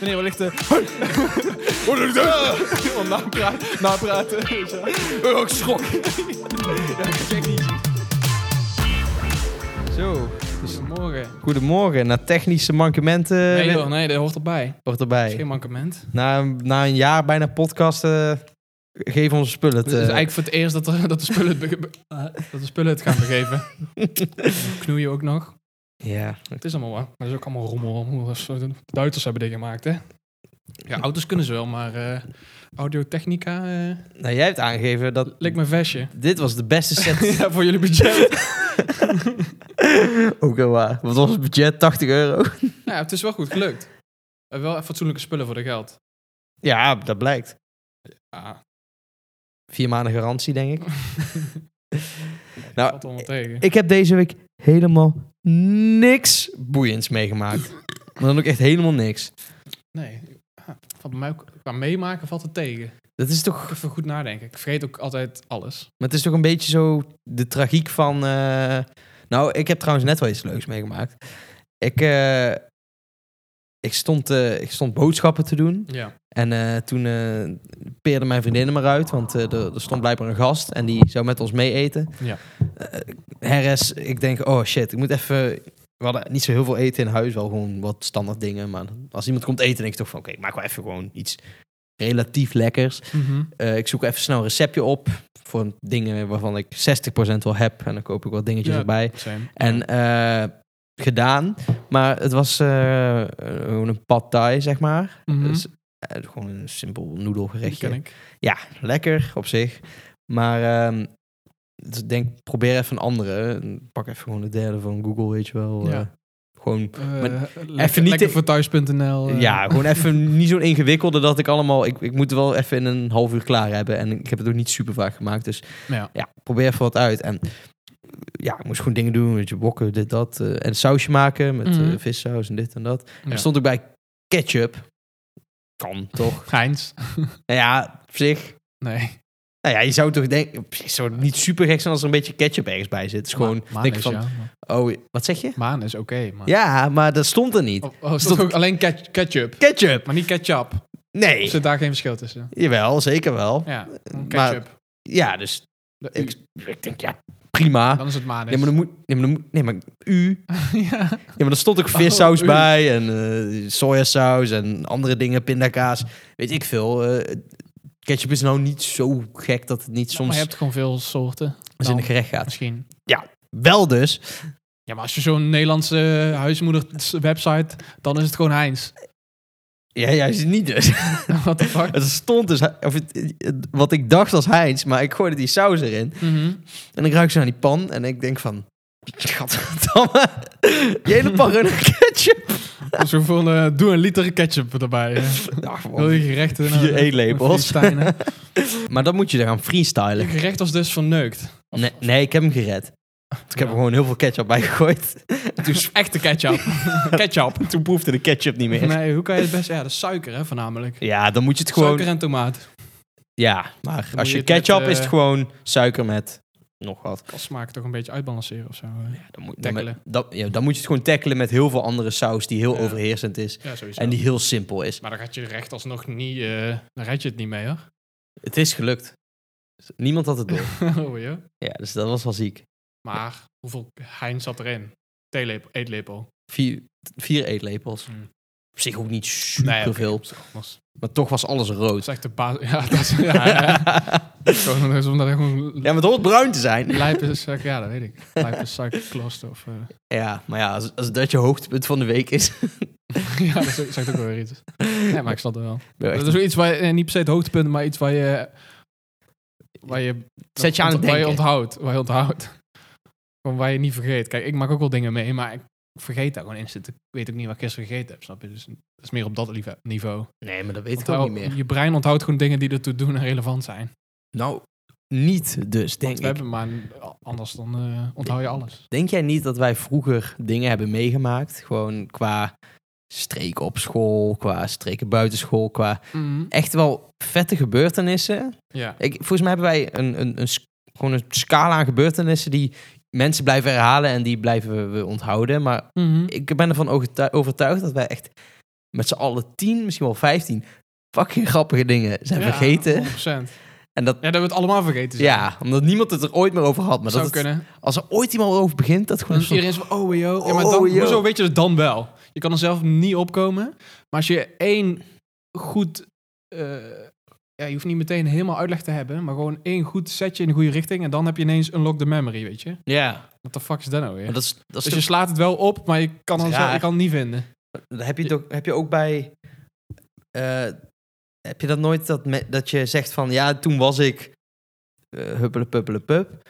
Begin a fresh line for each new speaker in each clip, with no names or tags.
Meneer, wat
eh,
ligt er? Wat ligt er? Napraten. Napraten. weet je wel. Oh, ik schrok. Ja, gek niet.
Zo, goedemorgen.
Goedemorgen. Na technische mankementen
Eh, Nee
eh,
joh, nee, dat hoort erbij.
wordt
Dat is geen
erbij.
mankement.
Na, na een jaar bijna podcasten, eh, geef onze spullen het.
Het is
eh.
eigenlijk voor het eerst dat, er, dat, de spullen het bege- be- eh, dat de spullen het gaan begeven. Knoeien ook nog.
Ja,
Het is allemaal waar. Maar dat is ook allemaal rommel. Dat is- De Duitsers hebben dit gemaakt, hè? Ja, auto's kunnen ze wel, maar eh audiotechnica eh
nou jij hebt aangegeven dat
leek me vestje.
dit was de beste set.
ja, voor jullie budget.
Ook wel waar. Wat was het budget? 80 euro?
ja, het is wel goed gelukt. Eh, wel fatsoenlijke spullen voor de geld. Ah.
Ja, dat blijkt.
Ja,
Vier maanden garantie, denk ik.
dat
nou,
valt allemaal tegen.
ik heb deze week helemaal niks boeiends meegemaakt. Maar dan ook echt helemaal niks.
Nee, ja, valt bij mij ook, qua meemaken valt het tegen.
Dat is toch,
Ik even goed nadenken. Ik vergeet ook altijd alles.
maar het is toch een beetje zo de tragiek van... eh, Nou, ik heb trouwens net wel iets leuks meegemaakt. Ik, eh, ik, stond, eh, ik stond boodschappen te doen.
Ja.
En eh, toen eh, peerde mijn vriendin er maar uit, want eh, er, er stond blijkbaar een gast en die zou met ons mee eten.
Ja.
Eh, RS, ik denk, oh shit, ik moet even... We hadden niet zo heel veel eten in huis, wel gewoon wat standaard dingen. Maar als iemand komt eten, denk ik toch van, oké, ik maak wel even gewoon iets relatief lekkers.
Mhm.
Eh, ik zoek even snel een receptje op voor dingen waarvan ik 60% wel heb. En dan koop ik wat dingetjes
Ja.
erbij.
Same.
En eh, gedaan, maar het was eh, gewoon een pad thai, zeg maar.
Mhm.
Dus, eh, gewoon een simpel
Die ken
noedelgerechtje.
ik.
Lekker op zich. Maar ehm, dus ik denk, probeer even een andere. Pak even gewoon de derde van Google, weet je wel.
Ja.
Eh, gewoon,
Eh, lekker,
even niet
lekker
te-
voor thuis.nl. eh.
ja, gewoon even niet zo'n ingewikkelde dat ik allemaal... Ik, ik moet wel even in een half uur klaar hebben. En ik heb het ook niet super vaak gemaakt. Dus
Ja.
ja, probeer even wat uit. En ja, ik moest gewoon dingen doen. Weet je, wokken, dit, dat. eh, en sausje maken met
Mhm.
eh, vissaus en dit en dat.
Ja.
Er stond ook bij ketchup. Kan, toch?
Gijns.
nou ja, op zich...
Nee.
Nou ja, je zou toch denken, het zou niet super gek zijn als er een beetje ketchup ergens bij zit. Het is gewoon,
Ma- Maan
denk
is,
van,
ja.
oh, wat zeg je?
Maan is oké. maar...
Ja, maar dat stond er niet.
Oh, oh, is dat ook alleen ke- ketchup?
Ketchup?
Maar niet ketchup.
Nee.
Zit daar geen verschil tussen?
Jawel, zeker wel.
Ja, ketchup.
Ja, dus
De U.
ik, ik denk, ja, prima.
dan is het maan.
Nee, maar dan moet, nee, maar dan moet, nee, maar u.
ja. Oh,
Ja, maar er stond ook vissaus
u.
bij en eh, sojasaus en andere dingen, pindakaas. Weet ik veel. eh, ketchup is nou niet zo gek dat het niet
Maar
soms
je hebt gewoon veel soorten.
als in een
dan
gerecht gaat.
Misschien.
Wel dus.
Ja, maar als je zo'n Nederlandse eh, huismoeder-website, dan is het gewoon Heinz.
Ja, juist niet dus.
What the fuck?
Het stond dus, of het- het- wat ik dacht als Heinz, maar ik gooide die saus erin.
Mhm.
En ik ruik ze aan die pan en ik denk van... Gadverdamme, die hele pan ruikt naar ketchup.
Dus we vonden, doe een liter ketchup erbij. eh.
Ach, man.
Wil je gerechten? eh,
Vier eetlepels.
Steinen.
Maar dan moet je eraan
Je
freestylen.
gerecht was dus verneukt. Of-
Nee, nee, ik heb hem gered. Want Ik heb
Ja.
er gewoon heel veel ketchup bij gegooid.
Dus echte ketchup. ketchup.
Toen proefde de ketchup niet meer.
Nee, hoe kan je het best... Ja, dat is suiker, hè, voornamelijk.
Ja, dan moet je het gewoon...
Suiker en tomaat.
Ja, maar
moet
als
je
je
het met,
ketchup
eh,
is het gewoon suiker met nog wat.
Dat smaak toch een beetje uitbalanceren of zo. eh. hè.
Ja, dan, moet, dan,
Tackelen.
dan- ja, dan moet je het gewoon tackelen met heel veel andere saus die heel
Ja.
overheersend is.
Ja, sowieso.
En die heel simpel is.
Maar dan gaat je recht alsnog niet... eh dan red je het niet mee, hoor.
Het is gelukt. Niemand had het door.
oh, ja.
ja, dus dat was wel ziek.
Maar hoeveel hein zat erin? Theelepel, eetlepel.
Vier, vier eetlepels.
Mm.
Op zich ook niet
Nee, oké,
superveel.
op zich anders.
Maar toch was alles
Dat
rood.
is echt de basis. Ja, dat is... Ja, ja. Gewoon, dat is omdat er gewoon
ja, maar het hoort bruin te zijn.
Lijp is suiker, ja, dat weet ik. Lijp is suikerklast of... eh,
Ja, maar ja, als, als dat je hoogtepunt van de week is.
ja, dat zegt zegt ook wel weer iets. Ja, maar ik snap het wel.
ben je echt-
Dat is ook iets waar je, eh, niet per se het hoogtepunt, maar iets waar je... Waar je
Zet je aan het
Waar je
denken.
onthoudt. Waar je onthoudt. Gewoon waar je niet vergeet. Kijk, ik maak ook wel dingen mee, maar ik vergeet daar gewoon instant. Ik weet ook niet wat ik gisteren gegeten heb, snap je? Dus dat is meer op dat lieve- niveau.
nee, maar dat weet ik ook
Onthoud-
niet meer.
Je brein onthoudt gewoon dingen die ertoe doen en relevant zijn.
Nou, niet dus,
Want
denk
we
ik.
hebben maar een- anders dan eh, onthoud je alles.
Denk jij niet dat wij vroeger dingen hebben meegemaakt? Gewoon qua streken op school, qua streken buitenschool, qua echt wel vette gebeurtenissen.
Ja.
Ik, volgens mij hebben wij een, een, een, s- gewoon een scala aan gebeurtenissen die mensen blijven herhalen en die blijven we onthouden. Maar
Mhm.
ik ben ervan overtu- overtuigd dat wij echt met z'n allen tien, misschien wel vijftien fucking grappige dingen zijn
Ja,
vergeten.
100%.
En dat,
Ja, dat we het allemaal vergeten zijn.
ja, omdat niemand het er ooit meer over had. Maar dat
zou
het-
kunnen.
als er ooit iemand over begint, dat gewoon
Dan
een
is
soort-
iedereen zo van, oh yo. Ja, maar dan,
Oh, yo.
hoezo weet je het dan wel? Je kan er zelf niet opkomen. Maar als je één goed... eh, ja, je hoeft niet meteen helemaal uitleg te hebben. Maar gewoon één goed setje in de goede richting. En dan heb je ineens unlock the memory, weet je.
Ja,
What the fuck is dat nou weer?
maar dat is, dat is
dus je slaat het wel op, maar je kan,
Dat
dan
is
zo- je
raar.
kan het niet vinden.
Dat heb, je toch- heb je ook bij. eh, heb je dat nooit dat, me- dat je zegt van ja, toen was ik. eh huppele puppele pup.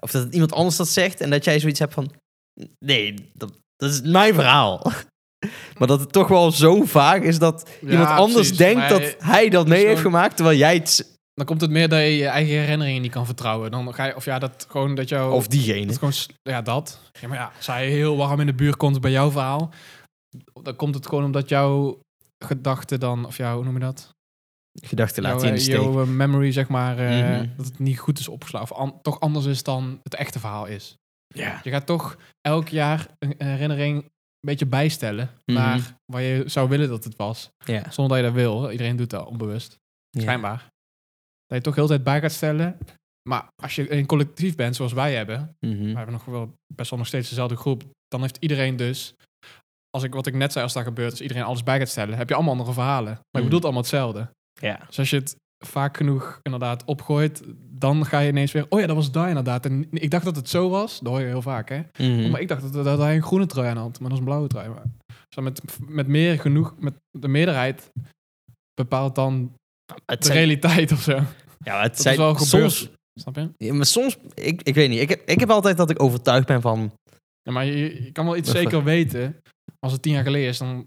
Of dat iemand anders dat zegt en dat jij zoiets hebt van. Nee, dat, dat is mijn verhaal. maar dat het toch wel zo vaak is dat iemand
Ja,
anders
precies.
denkt
Maar
dat
je-
hij dat mee
zo'n-
heeft gemaakt terwijl jij het.
Dan komt het meer dat je je eigen herinneringen niet kan vertrouwen. Dan ga je, of ja, dat gewoon dat jou...
Of
Dat
diegene.
is gewoon, s- ja, dat. Ja, maar ja, als hij heel warm in de buurt komt bij jouw verhaal, dan komt het gewoon omdat jouw gedachten dan, of jouw, hoe noem je dat?
Gedachten laat je
jouw,
in de
eh,
steek.
jouw, eh, memory, zeg maar, eh,
Mhm.
dat het niet goed is opgeslagen. Of an- toch anders is dan het echte verhaal is.
Ja.
Je gaat toch elk jaar een een herinnering een beetje bijstellen
Mhm.
naar waar je zou willen dat het was.
Ja.
Zonder dat je dat wil. Iedereen doet dat onbewust. Schijnbaar. Dat je toch heel de tijd bij gaat stellen. Maar als je een collectief bent, zoals wij hebben,
Mhm.
we hebben nog wel best wel nog steeds dezelfde groep. Dan heeft iedereen dus, als ik wat ik net zei, als dat gebeurt, als iedereen alles bij gaat stellen, heb je allemaal andere verhalen. Maar je
Mm.
bedoelt allemaal hetzelfde.
ja.
Dus als je het vaak genoeg inderdaad opgooit, dan ga je ineens weer, oh ja, dat was daar inderdaad. En ik dacht dat het zo was, dat hoor je heel vaak, hè. Oh,
Mhm.
Maar ik dacht dat, dat hij een groene trui aan had, maar dat is een blauwe trui. Maar, dus dan met, met meer genoeg, met de meerderheid bepaalt dan
het
de
zijn,
realiteit of zo.
ja, maar het
Dat
zijn
is wel gebeurd.
soms
Snap je?
Ja, maar soms, ik, ik weet niet, ik heb, ik heb altijd dat ik overtuigd ben van...
Ja, maar je, je kan wel iets
Even.
zeker weten. Als het tien jaar geleden is, dan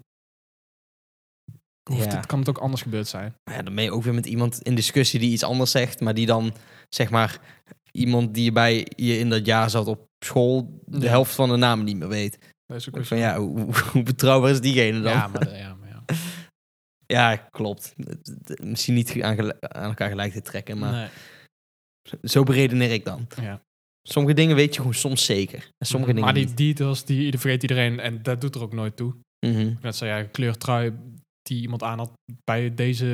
hoeft
Ja.
het, kan het ook anders gebeurd zijn.
nou Ja, dan ben je ook weer met iemand in discussie die iets anders zegt, maar die dan, zeg maar, iemand die je bij je in dat jaar zat op school, de
Ja.
helft van de namen niet meer weet.
Dat is ook
Ik
weer
van
zo.
ja, hoe, hoe betrouwbaar is diegene dan?
ja,
Ja,
maar, de- ja, maar ja.
klopt. Het- het- Misschien niet ge- aan, gel- aan elkaar gelijk te trekken, maar
Nee.
zo beredeneer ik dan.
Ja.
Sommige dingen weet je gewoon soms zeker. En sommige dingen
maar die
niet.
details, die, die vergeet iedereen. En dat doet er ook nooit toe.
Mhm.
Ik net zei, ja, kleurtrui die iemand aan had bij, deze,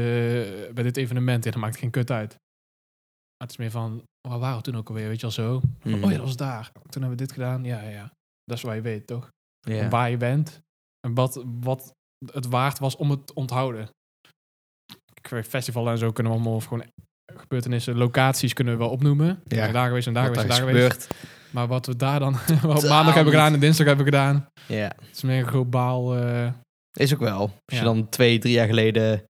bij dit evenement. Ja, dat maakt geen kut uit. Maar het is meer van, waar waren we toen ook alweer? Weet je wel zo? Van,
Mhm.
Oh ja, dat was daar. Toen hebben we dit gedaan. Ja, ja, ja. Dat is waar je weet, toch?
Ja.
waar je bent en wat, wat het waard was om het te onthouden. Ik weet, festival en zo kunnen we allemaal of gewoon gebeurtenissen, locaties kunnen we wel opnoemen.
Ja.
Ja. Daar geweest en daar
Wat
geweest en
daar
daar
is
geweest.
gebeurd.
Maar wat we daar dan wat we
Totaal
maandag hebben
niet.
gedaan en dinsdag hebben gedaan,
Ja.
het is meer een globaal. eh,
Is ook wel. Als
Ja.
je dan twee, drie jaar geleden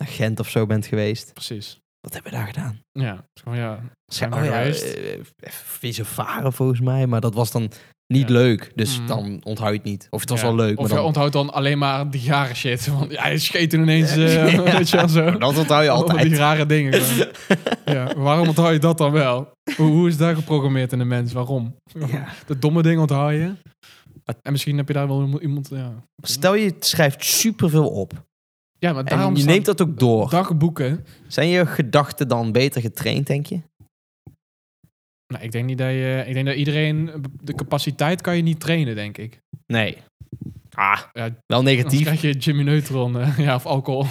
naar Gent of zo bent geweest.
precies.
Wat hebben we daar gedaan?
Ja, Het is gewoon, ja. Zijn we
oh ja,
geweest?
eh, eh, vieze varen volgens mij. Maar dat was dan niet
Ja.
leuk. Dus
Mhm.
dan onthoud je het niet. Of het was
ja.
wel leuk.
Of
Maar
je
dan,
onthoudt dan alleen maar die rare shit. Want ja, je scheet toen ineens,
Ja.
eh,
Ja.
weet je wel zo.
maar dat onthoud je
Allemaal
altijd.
Die rare dingen. gewoon. ja, waarom onthoud je dat dan wel? Hoe, hoe is dat geprogrammeerd in de mens? Waarom?
Ja.
De domme dingen onthoud je. En misschien heb je daar wel iemand- iemand... Ja,
Stel je schrijft superveel op.
ja maar daarom
En je
staan
neemt dat ook door.
dagboeken...
Zijn je gedachten dan beter getraind, denk je?
Nou, ik denk niet dat je... Ik denk dat iedereen... De capaciteit kan je niet trainen, denk ik.
Nee. Ah,
Ja,
wel
Anders
negatief.
krijg je Jimmy Neutron eh, ja, of alcohol.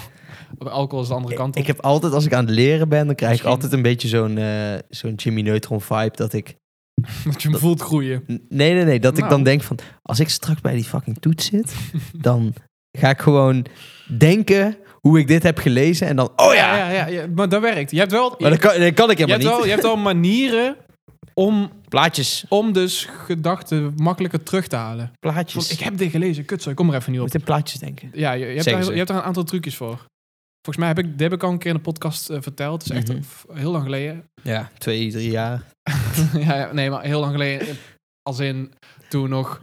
Bij alcohol is de andere kant
Ik,
op.
ik heb altijd, als ik aan het leren ben, dan krijg
Misschien-
ik altijd een beetje zo'n eh, zo'n Jimmy Neutron vibe. Dat ik
dat je hem voelt groeien.
N- Nee, nee, nee. Dat ik
Nou.
dan denk van, als ik straks bij die fucking toets zit, dan ga ik gewoon denken hoe ik dit heb gelezen en dan, oh ja!
ja, ja, ja, maar dat werkt. Je hebt wel...
Maar dat kan, dat kan ik
je,
helemaal
hebt
niet.
wel je hebt wel manieren om
Plaatjes,
Om dus gedachten makkelijker terug te halen.
plaatjes.
Want ik
Ik
heb dit gelezen, kut zo, ik kom er even niet
moet
op.
in plaatjes denken.
Ja, je, je hebt
Zeggen
daar,
ze.
je hebt daar een aantal trucjes voor. Volgens mij heb ik, dit heb ik al een keer in de podcast eh, verteld. Het is echt
Mhm.
f- heel lang geleden.
Ja, twee, drie jaar.
ja, ja, nee, maar heel lang geleden. Als in toen nog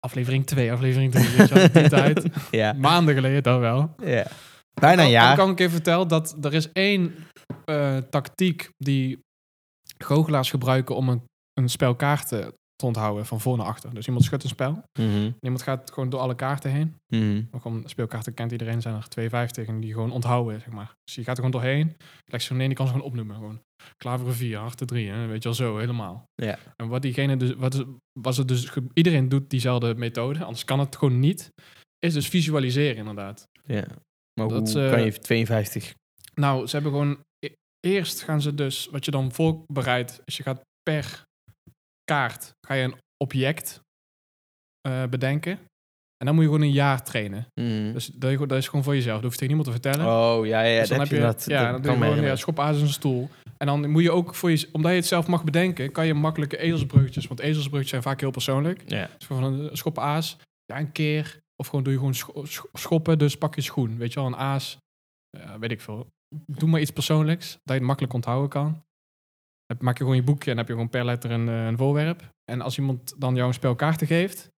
aflevering 2, aflevering 3. Weet je wel, die tijd.
Ja.
Maanden geleden dan wel.
ja. Bijna een
Ik heb
jaar.
ik al een keer verteld dat er is één eh, tactiek die goochelaars gebruiken om een, een spel kaarten te onthouden van voor naar achter. Dus iemand schudt een spel.
Mhm,
Niemand gaat gewoon door alle kaarten heen.
mhm.
Ook om speelkaarten kent iedereen, zijn er 52 en die gewoon onthouden, zeg maar. Dus je gaat er gewoon doorheen. Legt ze nee, die kan ze gewoon opnoemen. Gewoon klaveren 4, harten 3, hè, weet je wel zo, helemaal.
Ja.
En wat diegene dus, wat, is- was het dus, ge- iedereen doet diezelfde methode, anders kan het gewoon niet. is dus visualiseren inderdaad.
Ja. Maar
Dat,
hoe
eh,
kan je 52...
Nou, ze hebben gewoon... e- Eerst gaan ze dus... Wat je dan voorbereidt, is je gaat per kaart... ga je een object eh, bedenken. En dan moet je gewoon een jaar trainen.
Mm.
Dus dat, je- dat is gewoon voor jezelf. Dat hoef je tegen niemand te vertellen.
oh, ja, ja.
Dus
dat
dan heb je,
dat,
ja, dan
dat
doe je
kan
gewoon
me
ja, schopazers een stoel. En dan moet je ook voor je, omdat je het zelf mag bedenken, kan je makkelijke ezelsbruggetjes, want ezelsbruggetjes zijn vaak heel persoonlijk.
Ja.
Dus gewoon van een schop aas, ja, een keer. Of gewoon doe je gewoon scho- scho- schoppen, dus pak je schoen. Weet je wel, een aas, ja, weet ik veel. Doe maar iets persoonlijks, dat je het makkelijk onthouden kan. Dan maak je gewoon je boekje en heb je gewoon per letter een, eh, een voorwerp. En als iemand dan jou een spel kaarten geeft,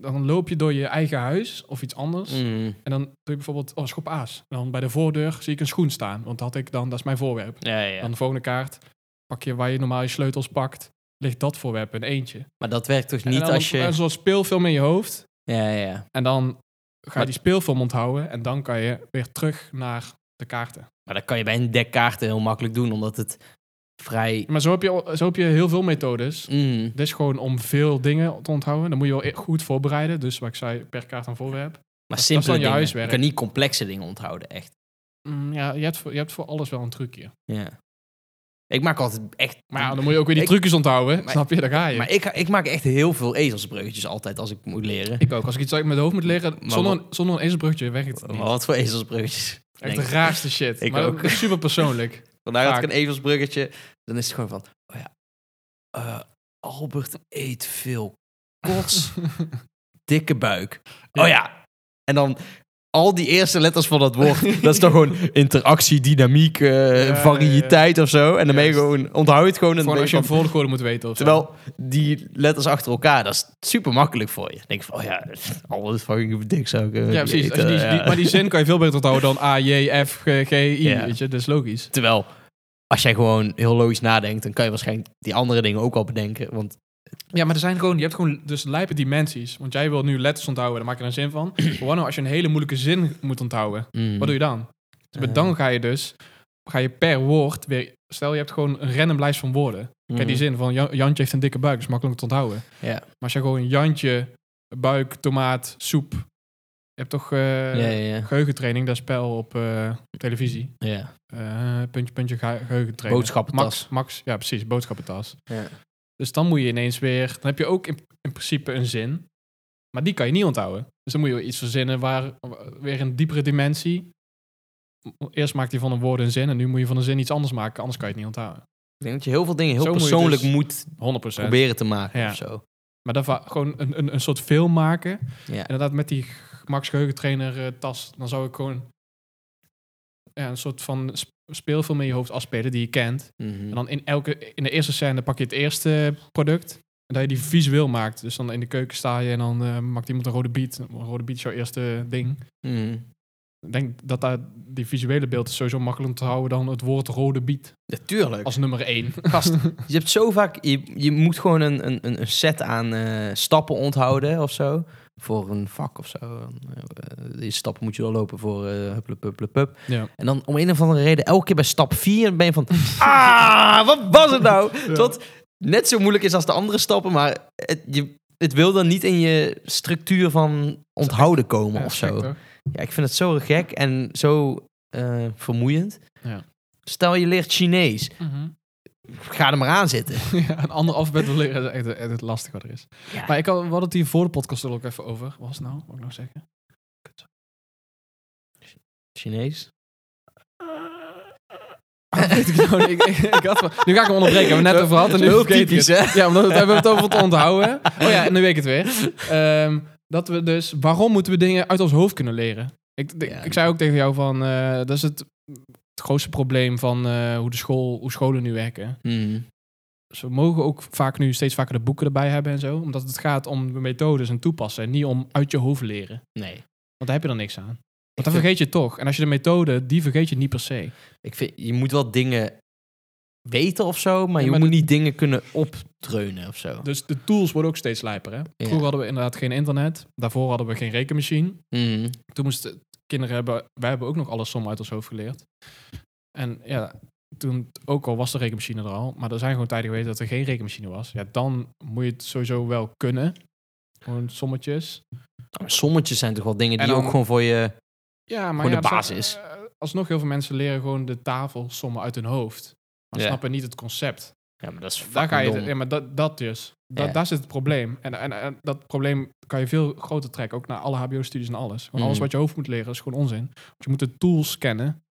dan loop je door je eigen huis of iets anders.
Mm.
En dan doe je bijvoorbeeld, oh, schop aas. En dan bij de voordeur zie ik een schoen staan. Want dat had ik dan, dat is mijn voorwerp.
Ja, ja.
Dan de volgende kaart, pak je waar je normaal je sleutels pakt, ligt dat voorwerp in eentje.
Maar dat werkt toch
en
niet
dan
als
een- een
je...
soort speelfilm in je hoofd.
Ja, ja.
En dan ga
Maar-
je die speelfilm onthouden. En dan kan je weer terug naar de kaarten.
Maar dat kan je bij een deck kaarten heel makkelijk doen, omdat het vrij...
Maar zo heb je, al- zo heb je heel veel methodes.
Mm.
Dit is gewoon om veel dingen te onthouden. Dan moet je wel e- goed voorbereiden. Dus wat ik zei, per kaart een voorwerp.
Maar
is
simpele
dan je
dingen.
huiswerk.
Je kan niet complexe dingen onthouden, echt.
Mm, ja, je hebt, voor, je hebt voor alles wel een trucje.
Ja. Ik maak altijd echt...
Maar ja, dan moet je ook weer die
Ik-
trucjes onthouden.
Maar-
snap je? Daar ga je.
Maar ik, ik maak echt heel veel ezelsbruggetjes altijd als ik moet leren.
Ik ook. Als ik iets uit mijn hoofd moet leren,
Maar
zonder
wat-
een, zonder een ezelsbruggetje werkt het
Maar
niet.
wat voor ezelsbruggetjes?
Echt
Denk
de
ik.
raarste shit.
Ik
maar
ook.
ook super persoonlijk.
Vandaar had
Vaak.
ik een ezelsbruggetje. Dan is het gewoon van, oh ja, eh, Albert eet veel kots, dikke buik.
Ja.
Oh ja. En dan al die eerste letters van dat woord. dat is toch gewoon interactie, dynamiek, eh,
ja, ja.
variëteit of zo. En dan ben je
Juist.
gewoon, onthoud het gewoon. En dan
Gewoon
ben
als
je
je een
van-
volgorde moet weten. Of zo.
terwijl die letters achter elkaar, dat is super makkelijk voor je. Dan denk je van, oh ja, Albert fucking dik zou ik eh,
Ja, precies. Als
eten,
je die,
ja.
die- maar die zin kan je veel beter onthouden dan A, J, F, G, G, I.
Ja.
Weet je, dat is logisch.
Terwijl, als jij gewoon heel logisch nadenkt, dan kan je waarschijnlijk die andere dingen ook al bedenken. Want
Ja, maar er zijn gewoon, je hebt gewoon dus lijpe dimensies. Want jij wil nu letters onthouden, daar maak je een zin van. Maar wat nou als je een hele moeilijke zin moet onthouden?
mm,
Wat doe je dan? Dus
Eh.
Dan ga je dus, ga je per woord weer... Stel, je hebt gewoon een random lijst van woorden.
mm.
Kijk, die zin van Jan- Jantje heeft een dikke buik, is makkelijk te onthouden.
Mhm. Ja.
Maar als je gewoon Jantje, buik, tomaat, soep... Je hebt toch eh,
Ja, ja, ja.
geheugentraining, dat spel op eh, televisie.
ja.
Eh, puntje, puntje, ge- geheugentraining.
Boodschappentas.
Max, Max, ja precies, boodschappentas.
Ja.
Dus dan moet je ineens weer... Dan heb je ook in, in principe een zin, maar die kan je niet onthouden. Dus dan moet je weer iets verzinnen waar weer een diepere dimensie... Eerst maakt hij van een woord een zin en nu moet je van een zin iets anders maken, anders kan je het niet onthouden.
Ik denk dat je heel veel dingen heel
Zo moet je
persoonlijk
dus-
moet,
100
proberen te maken
Ja.
of zo.
Maar dat va- gewoon een, een, een soort film maken.
Ja.
Inderdaad, met die g- Max Geheugentrainer eh, tas. Dan zou ik gewoon ja, een soort van sp- speelfilm in je hoofd afspelen die je kent.
Mm. Mhm.
En dan in, elke, in de eerste scène pak je het eerste product. En dat je die visueel maakt. Dus dan in de keuken sta je en dan eh, maakt iemand een rode beat. Een rode beat is jouw eerste ding.
Mhm.
Ik denk dat daar die visuele beelden sowieso makkelijker te houden dan het woord rode beat.
Natuurlijk.
Als nummer één.
Gast, je hebt zo vaak, je, je moet gewoon een, een- een, een set aan eh, stappen onthouden of zo. Voor een vak of zo. Eh, Die stappen moet je wel lopen voor eh hup, hup, hup, hup, hup.
Ja.
En dan om een of andere reden, elke keer bij stap 4 ben je van... ah, wat was het nou? Dat net zo moeilijk is als de andere stappen, maar het, je, het wil dan niet in je structuur van onthouden komen
Ja,
of
gek,
zo.
toch?
Ja, ik vind het zo gek en zo eh, vermoeiend.
Ja.
Stel je leert Chinees,
Mhm.
ga er maar aan zitten.
ja, een ander alfabet wil leren is echt, echt het lastige wat er is.
Ja.
Maar ik had, we hadden het hier voor de podcast er ook even over. Wat was het nou? Wat ik nou zeggen?
Chinees?
Ah, weet ik nou niet. Ik- ik had wel- nu ga ik hem onderbreken. We hebben het net over gehad. En nu
Heel
vergeet ik
typisch,
het.
hè?
Ja, omdat we het hebben we het over te onthouden. Oh ja, en nu weet ik het weer. Ehm, dat we dus... Waarom moeten we dingen uit ons hoofd kunnen leren? Ik, de-
Ja.
ik zei ook tegen jou van... eh, dat is het, het grootste probleem van eh, hoe, de school, hoe scholen nu werken.
Mm.
Dus we mogen ook vaak nu steeds vaker de boeken erbij hebben en zo. Omdat het gaat om de methodes en toepassen. En niet om uit je hoofd leren.
Nee.
Want daar heb je dan niks aan.
Ik
Want dan vergeet
vind-
je het toch. En als je de methode, die vergeet je niet per se.
Ik vind, je moet wel dingen weten of zo, maar
Ja,
je
maar
moet niet dingen kunnen optreunen of zo.
Dus de tools worden ook steeds slijper. Hè? Vroeger hadden we inderdaad geen internet. Daarvoor hadden we geen rekenmachine.
Mhm.
Toen moesten kinderen hebben... Wij hebben ook nog alle sommen uit ons hoofd geleerd. En ja, toen ook al was de rekenmachine er al. Maar er zijn gewoon tijden geweest dat er geen rekenmachine was. Ja, dan moet je het sowieso wel kunnen. Gewoon sommetjes.
Nou, sommetjes zijn toch wel dingen die
En dan-
ook gewoon voor je...
Ja, maar
Gewoon
ja,
de
er zijn-
basis.
eh, alsnog heel veel mensen leren gewoon de tafelsommen uit hun hoofd. Maar
Ja.
snappen niet het concept.
Ja, maar dat is
Daar ga je,
dom.
ja, maar dat, dat dus. Da-
Ja.
Daar zit het probleem. En, en, en dat probleem kan je veel groter trekken. Ook naar alle HBO-studies en alles. Want alles
Mhm.
wat je hoofd moet leren is gewoon onzin. Want je moet de tools kennen.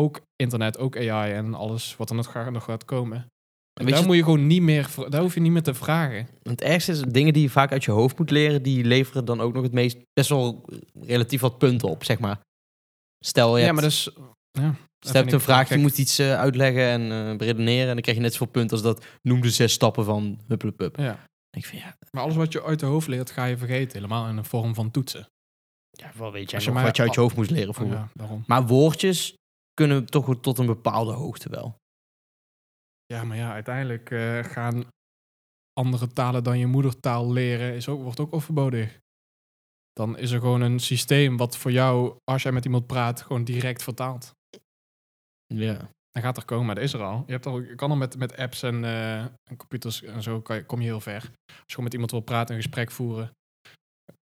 Ook internet, ook AI en alles wat er nog ga- nog gaat komen. En
Weet
daar
je- Oh,
moet je gewoon niet meer... vra- Daar hoef je niet meer te vragen.
Het ergste is, dingen die je vaak uit je hoofd moet leren, die leveren dan ook nog het meest, best wel relatief wat punten op, zeg maar. Stel, je
Ja,
hebt,
maar dus... Ja,
stel, je hebt een vraag, je
moet
moet iets eh, uitleggen en eh, beredeneren en dan krijg je net zoveel punten als dat noem de zes stappen van hupplepup.
Ja.
Ik vind, ja,
Maar alles wat je uit de hoofd leert, ga je vergeten. Helemaal in een vorm van toetsen.
ja wel weet jij
Als je
nog
maar-
wat je uit je hoofd moest leren
Oh,
vroeger.
ja, daarom.
Maar woordjes kunnen toch tot een bepaalde hoogte wel.
Ja, maar ja, uiteindelijk eh, gaan andere talen dan je moedertaal leren, is ook, wordt ook overbodig. Dan is er gewoon een systeem wat voor jou, als jij met iemand praat, gewoon direct vertaalt.
Ja.
Dan gaat er komen, maar dat is er al. Je, hebt al, je kan al met, met apps en, eh, en computers en zo kan je, kom je heel ver. Als je gewoon met iemand wil praten, een gesprek voeren,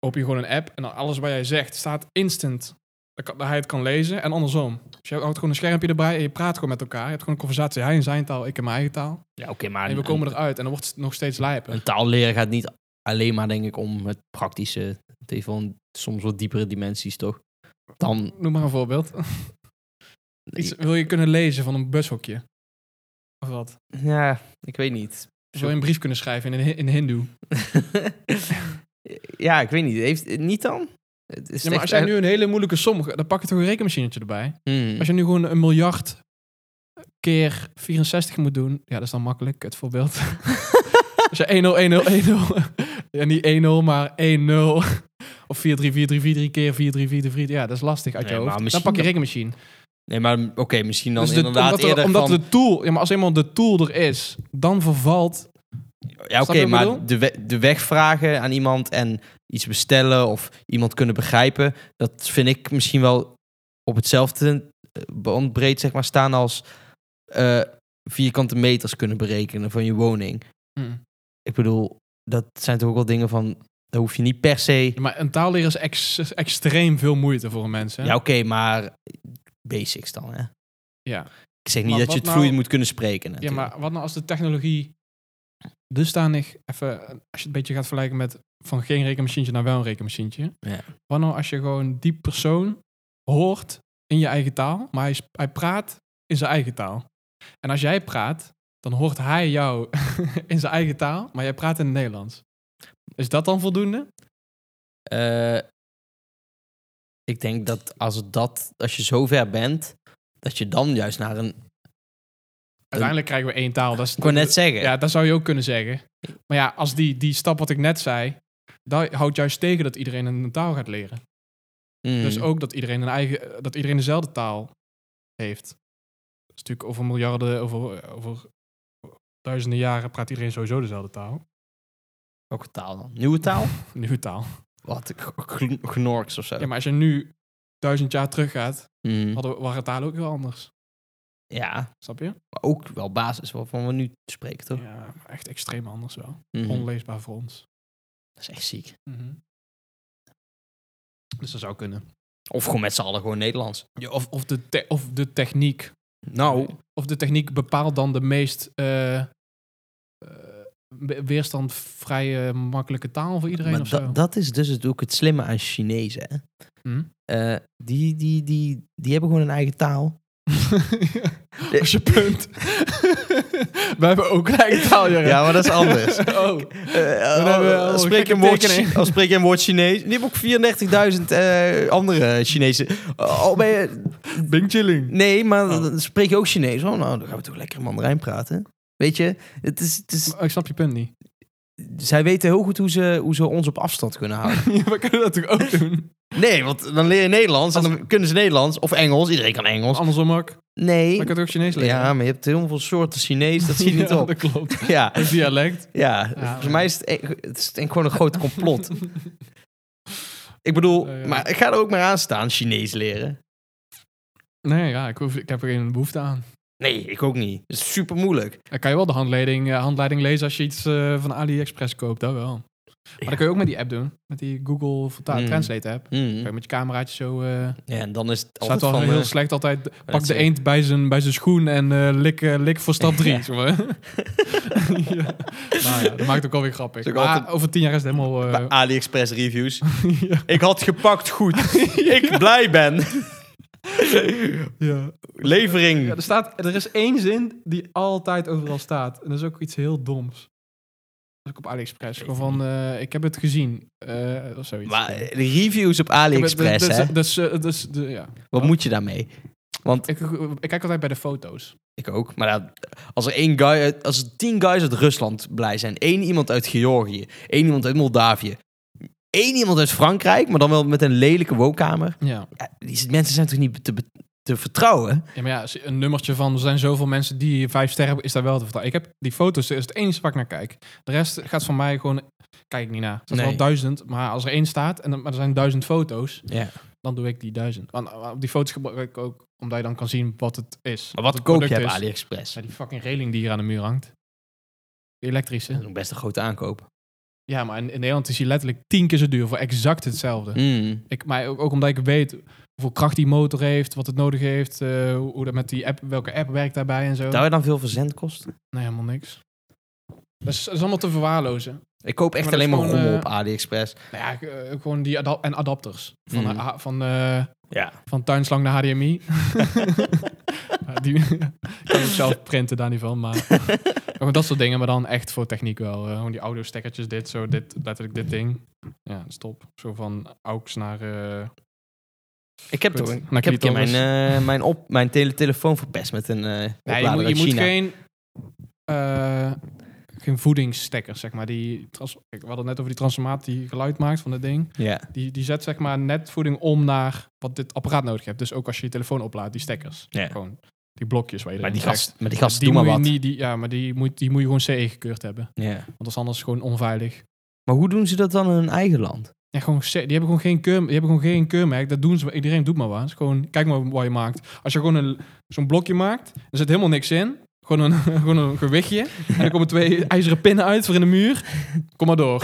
open je gewoon een app en dan alles wat jij zegt staat instant. Dat, kan, dat hij het kan lezen en andersom. Dus je houdt gewoon een schermpje erbij en je praat gewoon met elkaar. Je hebt gewoon een conversatie, hij in zijn taal, ik in mijn eigen taal.
Ja, oké, maar
En we komen eruit en dan wordt het nog steeds lijpen.
een taal leren gaat niet alleen maar, denk ik, om het praktische. Het heeft wel een- soms wat diepere dimensies, toch? Dan...
Noem maar een voorbeeld. Iets, wil je kunnen lezen van een bushokje? Of wat?
Ja, ik weet niet.
Wil je een brief kunnen schrijven in, een hi- in Hindoe?
ja, ik weet niet. Heeft, niet dan? Het is
Ja, maar
echt
als jij
uit-
nu een hele moeilijke som... Dan pak je toch een rekenmachinetje erbij?
Hmm.
Als je nu gewoon een miljard keer 64 moet doen... Ja, dat is dan makkelijk, het voorbeeld. als je 1-0, 1-0, 1-0... Ja, niet 1-0, maar 1-0... Of 4-3, 4-3, 4-3 keer 4-3, 4-3, 4-3. Ja, dat is lastig uit je
Nee, maar
hoofd. Dan
misschien
pak je
dat-
rekenmachine.
Nee, maar oké, misschien dan
Dus de-
inderdaad
omdat, er-
eerder
omdat
van...
de tool, ja, maar als eenmaal de tool er is, dan vervalt.
Ja, oké,
Snap je wat ik
maar
bedoel?
de, we- de weg vragen aan iemand en iets bestellen of iemand kunnen begrijpen... dat vind ik misschien wel op hetzelfde eh, bandbreed zeg maar, staan als... eh, vierkante meters kunnen berekenen van je woning.
Mm.
Ik bedoel, dat zijn toch ook wel dingen van... daar hoef je niet per se...
Ja, maar een taal leren is ex- extreem veel moeite voor een mens. Hè?
Ja, oké, maar basics dan, hè?
Ja.
Ik zeg niet
Maar
dat je
wat
het vloeiend
nou-
moet kunnen spreken.
Ja,
natuurlijk.
maar wat nou als de technologie dusdanig, even, eh, als je het een beetje gaat vergelijken met van geen rekenmachientje naar wel een rekenmachientje.
Ja.
Wat nou als je gewoon die persoon hoort in je eigen taal, maar hij, sp- hij praat in zijn eigen taal. En als jij praat, dan hoort hij jou in zijn eigen taal, maar jij praat in het Nederlands. Is dat dan voldoende?
Eh, ik denk dat als, het dat als je zo ver bent, dat je dan juist naar een...
Uiteindelijk krijgen we één taal. Dat is,
Ik wou net zeggen.
Ja, dat zou je ook kunnen zeggen. Maar ja, als die, die stap wat ik net zei, dat houdt juist tegen dat iedereen een taal gaat leren.
Mm.
Dus ook dat iedereen een eigen, dat iedereen dezelfde taal heeft. Dat is natuurlijk over miljarden, over, over duizenden jaren praat iedereen sowieso dezelfde taal.
Welke taal dan? Nieuwe taal?
Nieuwe taal.
Wat? G- g- Gnorks of zo?
Ja, maar als je nu duizend jaar teruggaat,
Mm.
hadden, we- waren talen ook heel anders.
Ja,
Snap je?
maar ook wel basis waarvan we nu spreken, toch?
Ja, maar echt extreem anders wel.
Mhm.
Onleesbaar voor ons.
Dat is echt ziek.
Dus dat zou kunnen.
Of gewoon met z'n allen gewoon Nederlands.
Ja, of, of, de te- of de techniek
Nou,
Eh, Of de techniek bepaalt dan de meest eh, eh, be- weerstandvrije, makkelijke taal voor iedereen
maar
of zo.
da- dat is dus het- ook het slimme aan Chinezen, hè?
Hm?
Eh, die, die, die, die hebben gewoon een eigen taal.
Als je punt. We hebben ook een eigen taal, Jurre.
Ja, maar dat is anders.
Oh.
Eh, al-
hebben we al
al spreek je
gekke
een woord,
tekenen.
Chi- al spreek je een woord Chinees. Die hebben ook 34.000 eh, andere Chinezen. Eh, Al ben je-
Bing chilling.
nee, maar
Oh.
dan spreek je ook Chinees. Oh, nou, dan gaan we toch lekker Mandarijn praten. Weet je, het is, het is,
Oh, ik snap je punt niet.
zij weten heel goed hoe ze, hoe ze ons op afstand kunnen houden.
Ja, we kunnen dat toch ook doen?
Nee, want dan leer je Nederlands en dan kunnen ze Nederlands of Engels. Iedereen kan Engels.
Andersom ook. Maar
Nee.
ik kan toch ook Chinees leren?
Ja, maar je hebt heel veel soorten Chinees. Dat zie je niet
Ja,
op.
dat klopt.
Ja,
Een dialect.
ja.
maar-
volgens mij is het, e- het is denk ik gewoon een groot complot. Ik bedoel,
Eh, ja.
maar ik ga er ook maar aan staan, Chinees leren.
Nee, ja, ik, hoef, ik heb er geen behoefte aan.
Nee, ik ook niet. Dat is super moeilijk.
Dan kan je wel de handleiding, eh, handleiding lezen als je iets eh, van AliExpress koopt, dat wel. Maar dat kun je ook met die app doen. Met die Google verta-
Mm.
Translate app. Kun je
Mm.
met je cameraatje zo... eh
Ja, en dan is het
staat
altijd
wel
van...
heel
eh,
slecht altijd. Pak de
zeggen.
eend bij zijn, bij zijn schoen en eh, lik, eh, lik voor stap drie.
Ja.
zeg maar. ja. Nou ja, dat maakt ook alweer grappig.
Is ook
Maar
altijd- Nou.
over tien jaar is het helemaal... eh,
bij AliExpress reviews. Ik had gepakt goed. Ik blij ben.
ja.
Levering.
Ja, er, staat, er is één zin die altijd overal staat. En dat is ook iets heel doms. Dat is ook op AliExpress. Gewoon van, eh, ik heb het gezien. eh, of zoiets.
maar eh, de reviews op AliExpress,
dus,
hè?
dus, eh, dus, de- ja.
Wat moet je daarmee?
ik, ik kijk altijd bij de foto's.
Ik ook. Maar ja, als er één guy uit, als er tien guys uit Rusland blij zijn, één iemand uit Georgië, één iemand uit Moldavië, één iemand uit Frankrijk, maar dan wel met een lelijke woonkamer.
Ja.
Ja, die mensen zijn toch niet te, be- te vertrouwen?
ja, maar ja, als je een nummertje van, er zijn zoveel mensen die vijf sterren hebben, is daar wel te vertrouwen. Ik heb die foto's, dat is het enige waar ik naar kijk. De rest gaat van mij gewoon, kijk ik niet naar. Er zijn wel
Nee.
duizend, maar als er één staat, en dan- maar er zijn duizend foto's,
Ja.
dan doe ik die duizend. Want eh, op die foto's gebruik ik ook, omdat je dan kan zien wat het is. wat
Maar wat
het
koop je
product
op
is.
AliExpress?
Ja, die fucking reling die hier aan de muur hangt. Die elektrische.
Dat is nog best een grote aankoop.
Ja, maar in, in Nederland is die letterlijk tien keer zo duur voor exact hetzelfde.
Mm.
Ik, maar ook, ook omdat ik weet hoeveel kracht die motor heeft, wat het nodig heeft, eh, hoe, hoe dat met die app, welke app werkt daarbij en zo.
Zou je dan veel verzendkosten?
Nee, helemaal niks. Dat is, dat is allemaal te verwaarlozen.
Ik koop echt
Maar dat
alleen
is
maar
gewoon,
rommel
eh,
op AliExpress.
Nou ja, ik, eh, gewoon die ada- en adapters. Van,
Mm.
eh, ha- van, eh,
Ja.
van tuinslang naar HDMI. Ja, die kan ik zelf printen daar niet van, maar gewoon dat soort dingen, maar dan echt voor techniek wel. Eh, gewoon die audio stekkertjes, dit, zo, dit, letterlijk dit ding. Ja, stop. Zo van aux naar... eh,
Ik heb
Goed,
toch een,
nou,
ik heb een keer mijn,
clitoris.
eh, mijn, op, mijn tele telefoon verpest met een eh
Nee, je
oplader
moet, je
uit
moet
China.
geen, eh, geen voedingsstekkers, zeg maar. Die trans- Kijk, we hadden het net over die transformaat die geluid maakt van het ding.
Ja.
Die, die zet zeg maar net voeding om naar wat dit apparaat nodig hebt. Dus ook als je je telefoon oplaadt, die stekkers.
Ja.
Gewoon die blokjes waar je
Maar
erin
die
trekt. Dus
gast, maar die gast
die
doe maar
moet
wat.
Je niet, die, ja, maar die moet, die moet je gewoon CE gekeurd hebben.
Ja.
Want dat is anders gewoon onveilig.
Maar hoe doen ze dat dan in hun eigen land?
Ja, gewoon, C- die hebben gewoon geen keur, die hebben gewoon geen keurmerk. Dat doen ze. Iedereen doet maar wat. Het is gewoon, kijk maar wat je maakt. Als je gewoon een, zo'n blokje maakt, er zit helemaal niks in. Gewoon een, gewoon een gewichtje. En dan komen twee ijzeren pinnen uit voor in de muur. Kom maar door.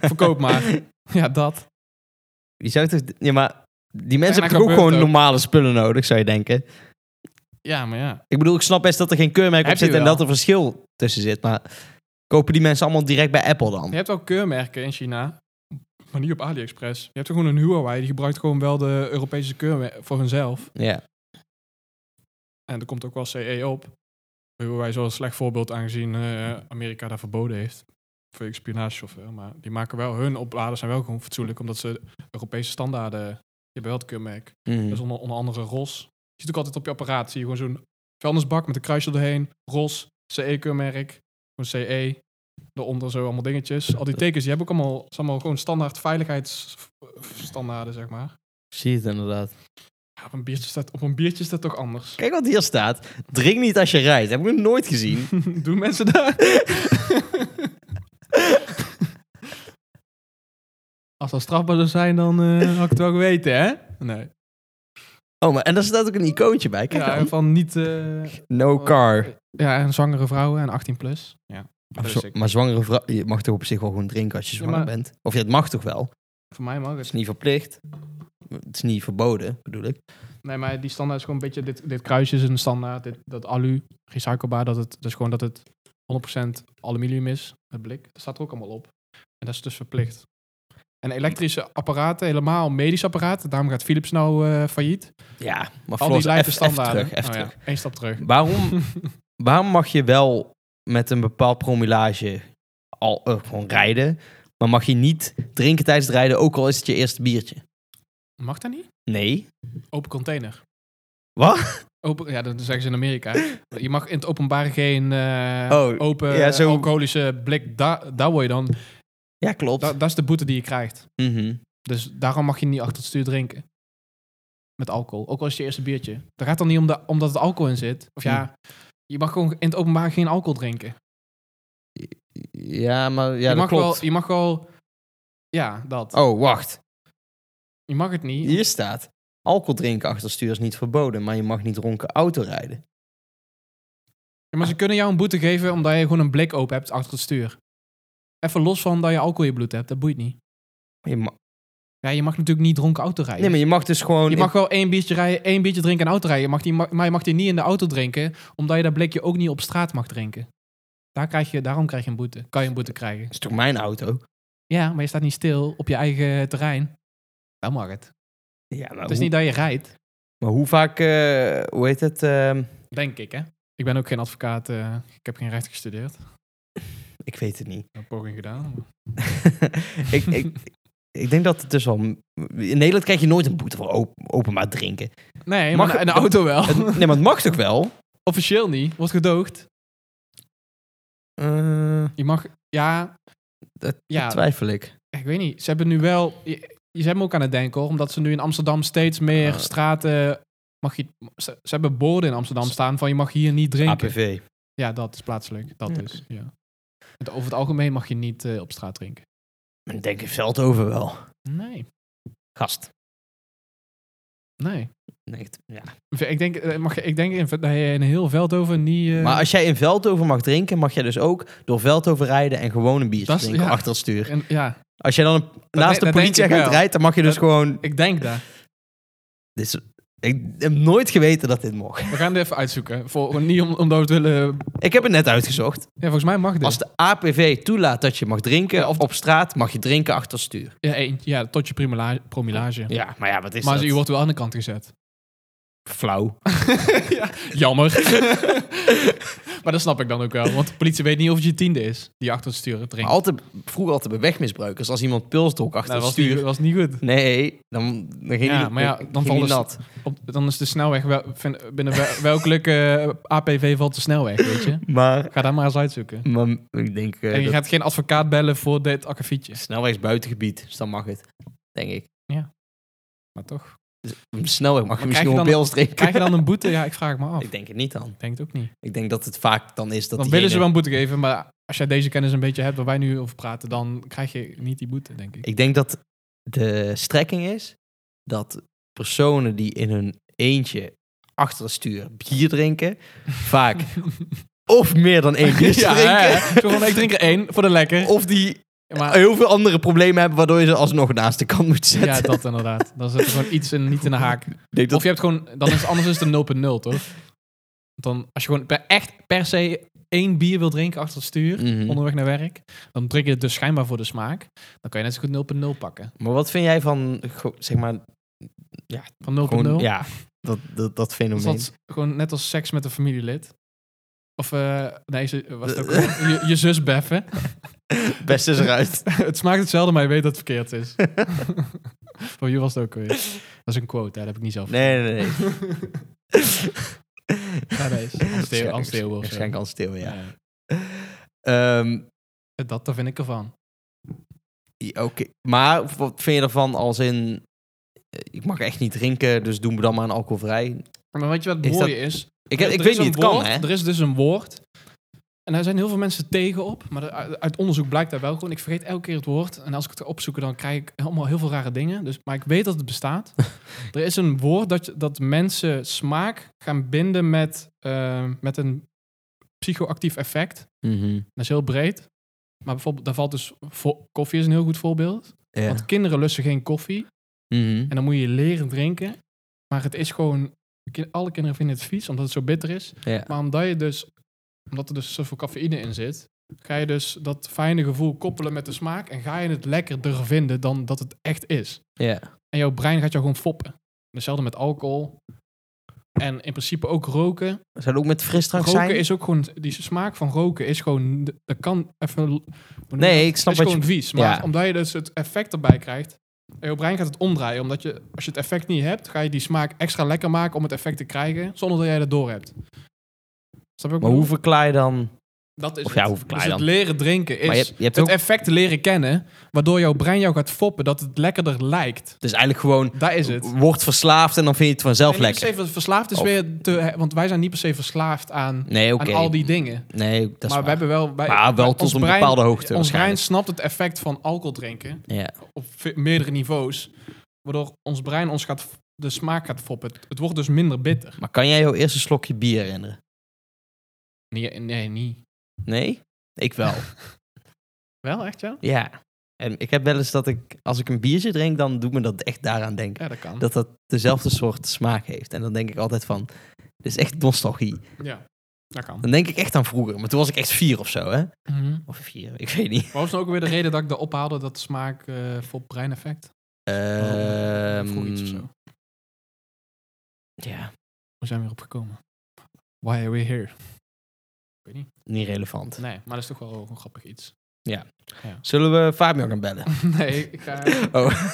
Verkoop maar. Ja, dat.
Je zou toch... Ja, maar
maar
die mensen hebben toch ook
gebeurt
gewoon
ook.
normale spullen nodig, zou je denken?
Ja, maar ja.
Ik bedoel, ik snap best dat er geen keurmerk op
Heb je
zit en
wel.
dat er verschil tussen zit, maar... Kopen die mensen allemaal direct bij Apple dan?
Je hebt ook keurmerken in China. Maar niet op AliExpress. Je hebt er gewoon een Huawei. Die gebruikt gewoon wel de Europese keurmerk voor hunzelf.
Ja.
En er komt ook wel CE op. Huawei is wel een slecht voorbeeld aangezien eh, Amerika daar verboden heeft. Voor je spionagesoftware. Maar die maken wel hun opladers zijn wel gewoon fatsoenlijk. Omdat ze Europese standaarden... Je hebt wel het keurmerk.
Mm.
Dus onder, onder andere ROS. Je ziet ook altijd op je apparaat. Zie je gewoon zo'n vuilnisbak met een kruisje erheen. ROS, CE-keurmerk. Gewoon CE. Daaronder zo allemaal dingetjes. Al die tekens, die hebben ook allemaal, zijn allemaal gewoon standaard veiligheidsstandaarden, zeg maar.
Zie je het inderdaad.
Ja, op, een biertje staat, op een biertje staat toch anders.
Kijk wat hier staat. Drink niet als je rijdt. Heb ik nog nooit gezien.
Doen mensen daar? Als dat strafbaar zou zijn, dan eh, had ik het wel geweten, hè? Nee.
Oh, maar en daar staat ook een icoontje bij. Kijk
Ja,
dan.
van niet... eh,
No car.
Ja, en zwangere vrouwen en 18 plus. Ja, dat
Maar
is
zo-
dus ik.
maar zwangere vrouw... Je mag toch op zich wel gewoon drinken als je
Ja,
zwanger
maar-
bent? Of ja, het mag toch wel?
Voor mij mag het.
Het is niet verplicht. Het is niet verboden, bedoel ik.
Nee, maar die standaard is gewoon een beetje... Dit, dit kruisje is een standaard. Dit, dat alu, recyclebaar. Dat het, dus gewoon dat het 100% aluminium is. Het blik. Dat staat er ook allemaal op. En dat is dus verplicht. En elektrische apparaten, helemaal medische apparaten. Daarom gaat Philips nou eh, failliet.
Ja, maar
Al die
Floris,
lijpe
even- even
standaarden.
terug, even
Oh ja,
terug.
één stap terug.
Waarom, waarom mag je wel met een bepaald promillage al, eh, gewoon rijden, maar mag je niet drinken tijdens het rijden, ook al is het je eerste biertje?
Mag dat niet?
Nee.
Open container.
Wat?
Open, ja, dat zeggen ze in Amerika. Je mag in het openbaar geen eh,
Oh,
open
ja, zo-
alcoholische blik. Da, daar word je dan.
Ja, klopt.
Da- dat is de boete die je krijgt.
Mhm.
Dus daarom mag je niet achter het stuur drinken. Met alcohol. Ook al is het je eerste biertje. Daar gaat het dan niet om de, omdat het alcohol in zit. Of ja,
Hmm.
je mag gewoon in het openbaar geen alcohol drinken.
Ja, maar ja,
je,
dat
mag
klopt.
Wel, je mag wel... Ja, dat.
Oh, wacht.
Je mag het niet.
Hier staat, alcohol drinken achter het stuur is niet verboden, maar je mag niet dronken autorijden.
Maar ze kunnen jou een boete geven omdat je gewoon een blik open hebt achter het stuur. Even los van dat je alcohol in je bloed hebt, dat boeit niet.
Je ma-
Ja, je mag natuurlijk niet dronken auto rijden.
nee, maar je mag dus gewoon...
Je mag wel één biertje, rijden, één biertje drinken en auto rijden. Je mag die, ma- maar je mag die niet in de auto drinken, omdat je dat blikje ook niet op straat mag drinken. Daar krijg je, daarom krijg je een boete. Kan je een boete krijgen.
Het is toch mijn auto?
Ja, maar je staat niet stil op je eigen terrein. Dan mag het.
Ja, maar,
Het is
Nou, hoe,
niet dat je rijdt,
maar hoe vaak... eh, hoe heet het? ehm,
denk ik, hè? Ik ben ook geen advocaat. eh, ik heb geen recht gestudeerd. Ik
ik weet het niet.
heb een poging gedaan. maar-
ik, ik, ik denk dat het dus wel... In Nederland krijg je nooit een boete voor op- openbaar drinken.
Nee,
Mag
maar
het-
in de auto wel.
Het- nee, maar het mag toch wel?
Officieel niet. Wordt gedoogd.
Eh,
Je mag... Ja,
dat
Ja.
twijfel ik.
ik weet niet. Ze hebben nu wel... Je, je zijn me ook aan het denken, hoor. Omdat ze nu in Amsterdam steeds meer
Ah.
straten... Mag je, ze, ze hebben borden in Amsterdam staan van je mag hier niet drinken.
APV.
Ja, dat is plaatselijk. Dat
Ja.
is, ja. Het- Over het algemeen mag je niet eh, op straat drinken.
Ik denk in Veldhoven wel.
Nee,
Gast.
nee.
Nee, het- ja.
Ik denk, eh, mag je, ik denk in, dat je in heel Veldhoven niet... eh,
Maar als jij in Veldhoven mag drinken, mag jij dus ook door Veldhoven rijden en gewoon een biertje
Dat is-
drinken
ja.
achter het stuur.
en- ja,
Als jij dan een- naast de
dat denk ik
politieagent
wel.
rijdt, dan mag je dus
Dat-
gewoon...
ik denk dat.
Dit is, ik heb nooit geweten dat dit mocht.
We gaan het even uitzoeken. Voor, niet om, omdat we het willen...
Ik heb het net uitgezocht.
Ja, volgens mij mag dit.
Als de APV toelaat dat je mag drinken,
Ja,
of
of-
op straat mag je drinken achter het stuur.
Ja, eentje. Ja, tot je primela- promilage.
Ja, maar ja, wat is
maar
dat?
u wordt wel aan de kant gezet.
Flauw.
Jammer. maar dat snap ik dan ook wel. Want de politie weet niet of het je tiende is die je achter het sturen
Maar
drinkt.
altijd, vroeger altijd bij wegmisbruikers, als iemand pilsdok achter
Nou, dat was
het
niet,
stuur...
dat was niet goed.
Nee, dan, dan ging
Ja,
die-
maar ja, dan
ging die
vallen ze-
nat.
Op, dan is de snelweg... Wel, vind- binnen wel- welke eh, APV valt de snelweg, weet je?
Maar,
Ga daar maar eens uitzoeken.
maar ik denk... eh,
En je
dat-
gaat geen advocaat bellen voor dit akkefietje.
Snelweg buitengebied, dus dan mag het. Denk ik.
Maar toch.
Op de snelweg mag je
Maar
misschien
krijg je
gewoon pils drinken.
Krijg je dan een boete? Ja, ik vraag het me af.
Ik denk het niet dan.
Ik denk het ook niet.
Ik denk dat het vaak dan is dat
dan willen ze wel een boete geven, maar als jij deze kennis een beetje hebt waar wij nu over praten, dan krijg je niet die boete, denk ik.
Ik denk dat de strekking is dat personen die in hun eentje achter het stuur bier drinken, vaak of meer dan één bier
ja,
drinken,
hè? Zo van, ik drink er één voor de lekker.
of die
Maar,
heel veel andere problemen hebben waardoor je ze alsnog naast de kant moet zetten.
ja, dat inderdaad. Dan zit er gewoon iets in, niet in de haak.
Ik denk dat-
Of je hebt gewoon, dan is het anders is het een 0.0, toch? Want Dan, als je gewoon per, echt per se één bier wil drinken achter het stuur,
Mhm.
onderweg naar werk, dan drink je het dus schijnbaar voor de smaak. Dan kan je net zo goed 0.0 pakken.
Maar wat vind jij van, go- zeg maar,
Van 0.0?
gewoon, ja, dat, dat, dat
Dat is
fenomeen?
dat gewoon net als seks met een familielid. Of, eh, nee, ze- was het ook alweer? je, je zus beffen.
Best is eruit.
het smaakt hetzelfde, maar je weet dat het verkeerd is. Voor je was het ook weer. Dat is een quote, hè? dat heb ik niet zelf.
Nee, nee, nee.
Ja, dat is Hans Theo- Hans Theo Wilson.
Waarschijnlijk Hans Theo, ja.
Nee.
Ehm,
Dat, dat vind ik ervan.
ja, Oké, maar wat vind je ervan als in... eh, Ik mag echt niet drinken, dus doen we dan maar een alcoholvrij.
Maar weet je wat het
Is dat-
mooie is?
Ik, heb-
Er
ik
is
weet
een
niet, het kan,
woord,
hè?
Er is dus een woord. En daar zijn heel veel mensen tegen op. Maar er- uit onderzoek blijkt daar wel gewoon. Ik vergeet elke keer het woord. En als ik het opzoek, dan krijg ik allemaal heel veel rare dingen. Dus, maar ik weet dat het bestaat. er is een woord dat, dat mensen smaak gaan binden met, eh, met een psychoactief effect. Dat is heel breed. Maar bijvoorbeeld, daar valt dus... vo- Koffie is een heel goed voorbeeld.
Ja.
Want kinderen lusten geen koffie.
Mhm.
En dan moet je leren drinken. Maar het is gewoon... ki- Alle kinderen vinden het vies, omdat het zo bitter is.
ja.
Maar omdat je dus, omdat er dus zoveel cafeïne in zit, ga je dus dat fijne gevoel koppelen met de smaak en ga je het lekkerder vinden dan dat het echt is.
ja.
En jouw brein gaat jou gewoon foppen. Hetzelfde met alcohol. En in principe ook roken.
Zou het ook met frisdrank
roken
zijn?
is ook gewoon, die smaak van roken is gewoon, dat kan even... hoe noem je
Nee,
dat?
ik snap
is
wat je...
gewoon vies. Maar
ja.
omdat je dus het effect erbij krijgt, en je brein gaat het omdraaien. Omdat je, als je het effect niet hebt, ga je die smaak extra lekker maken om het effect te krijgen, zonder dat jij dat door hebt. Snap je wat ik
Maar
bedoel?
hoe verklaar je dan...
Dat is
Of ja,
het.
hoe verklaar
dus
je
het
dan?
leren drinken is
Maar je hebt- je hebt
het
ook-
effect leren kennen, waardoor jouw brein jou gaat foppen dat het lekkerder lijkt.
Dus eigenlijk gewoon...
Daar is het.
Wordt verslaafd en dan vind je het vanzelf
Nee, niet
lekker.
per se ver- verslaafd is
Of-
weer te, hè, want wij zijn niet per se verslaafd aan,
Nee, oké.
aan al die dingen.
Nee, dat is
maar we
waar.
hebben wel, wij,
Maar wel tot
ons
een
brein-
bepaalde hoogte
Ons brein
waarschijnlijk.
snapt het effect van alcohol drinken
Ja.
op ve- meerdere niveaus, waardoor ons brein ons gaat, f- de smaak gaat foppen. Het, het wordt dus minder bitter.
Maar kan jij jouw eerste slokje bier herinneren?
Nee, nee, niet.
Nee? Ik wel.
Wel, echt ja?
Ja. En ik heb wel eens dat ik, als ik een biertje drink, dan doet me dat echt daaraan denken.
Ja, dat kan.
Dat dat dezelfde soort smaak heeft. En dan denk ik altijd van, dit is echt nostalgie.
Ja, dat kan.
Dan denk ik echt aan vroeger. Maar toen was ik echt vier of zo, hè?
Mhm.
Of vier, ik weet niet.
Maar was dan ook weer de reden dat ik dat ophaalde, dat smaak eh voor breineffect?
Ehm,
Oh, Vroeg iets of zo.
Ja,
We zijn weer opgekomen. Why are we here? Ik weet niet.
niet relevant.
Nee, maar dat is toch wel een grappig iets.
Zullen we Fabian gaan bellen?
nee, ik ga...
Oh.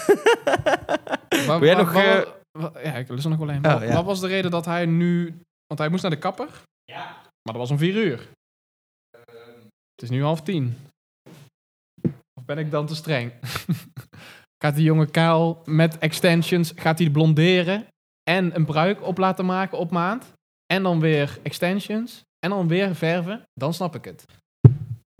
Waar-
Wil jij
waar-
nog,
waar-
eh, Oh,
wa- ja, ik lust er nog wel een. Wat-
ja.
Wat was de reden dat hij nu... Want hij moest naar de kapper. Ja. Maar dat was om vier uur. Het is nu half tien. Of ben ik dan te streng? gaat die jonge kaal met extensions... Gaat hij blonderen en een bruik op laten maken op maand? En dan weer extensions? En dan weer verven? Dan snap ik het.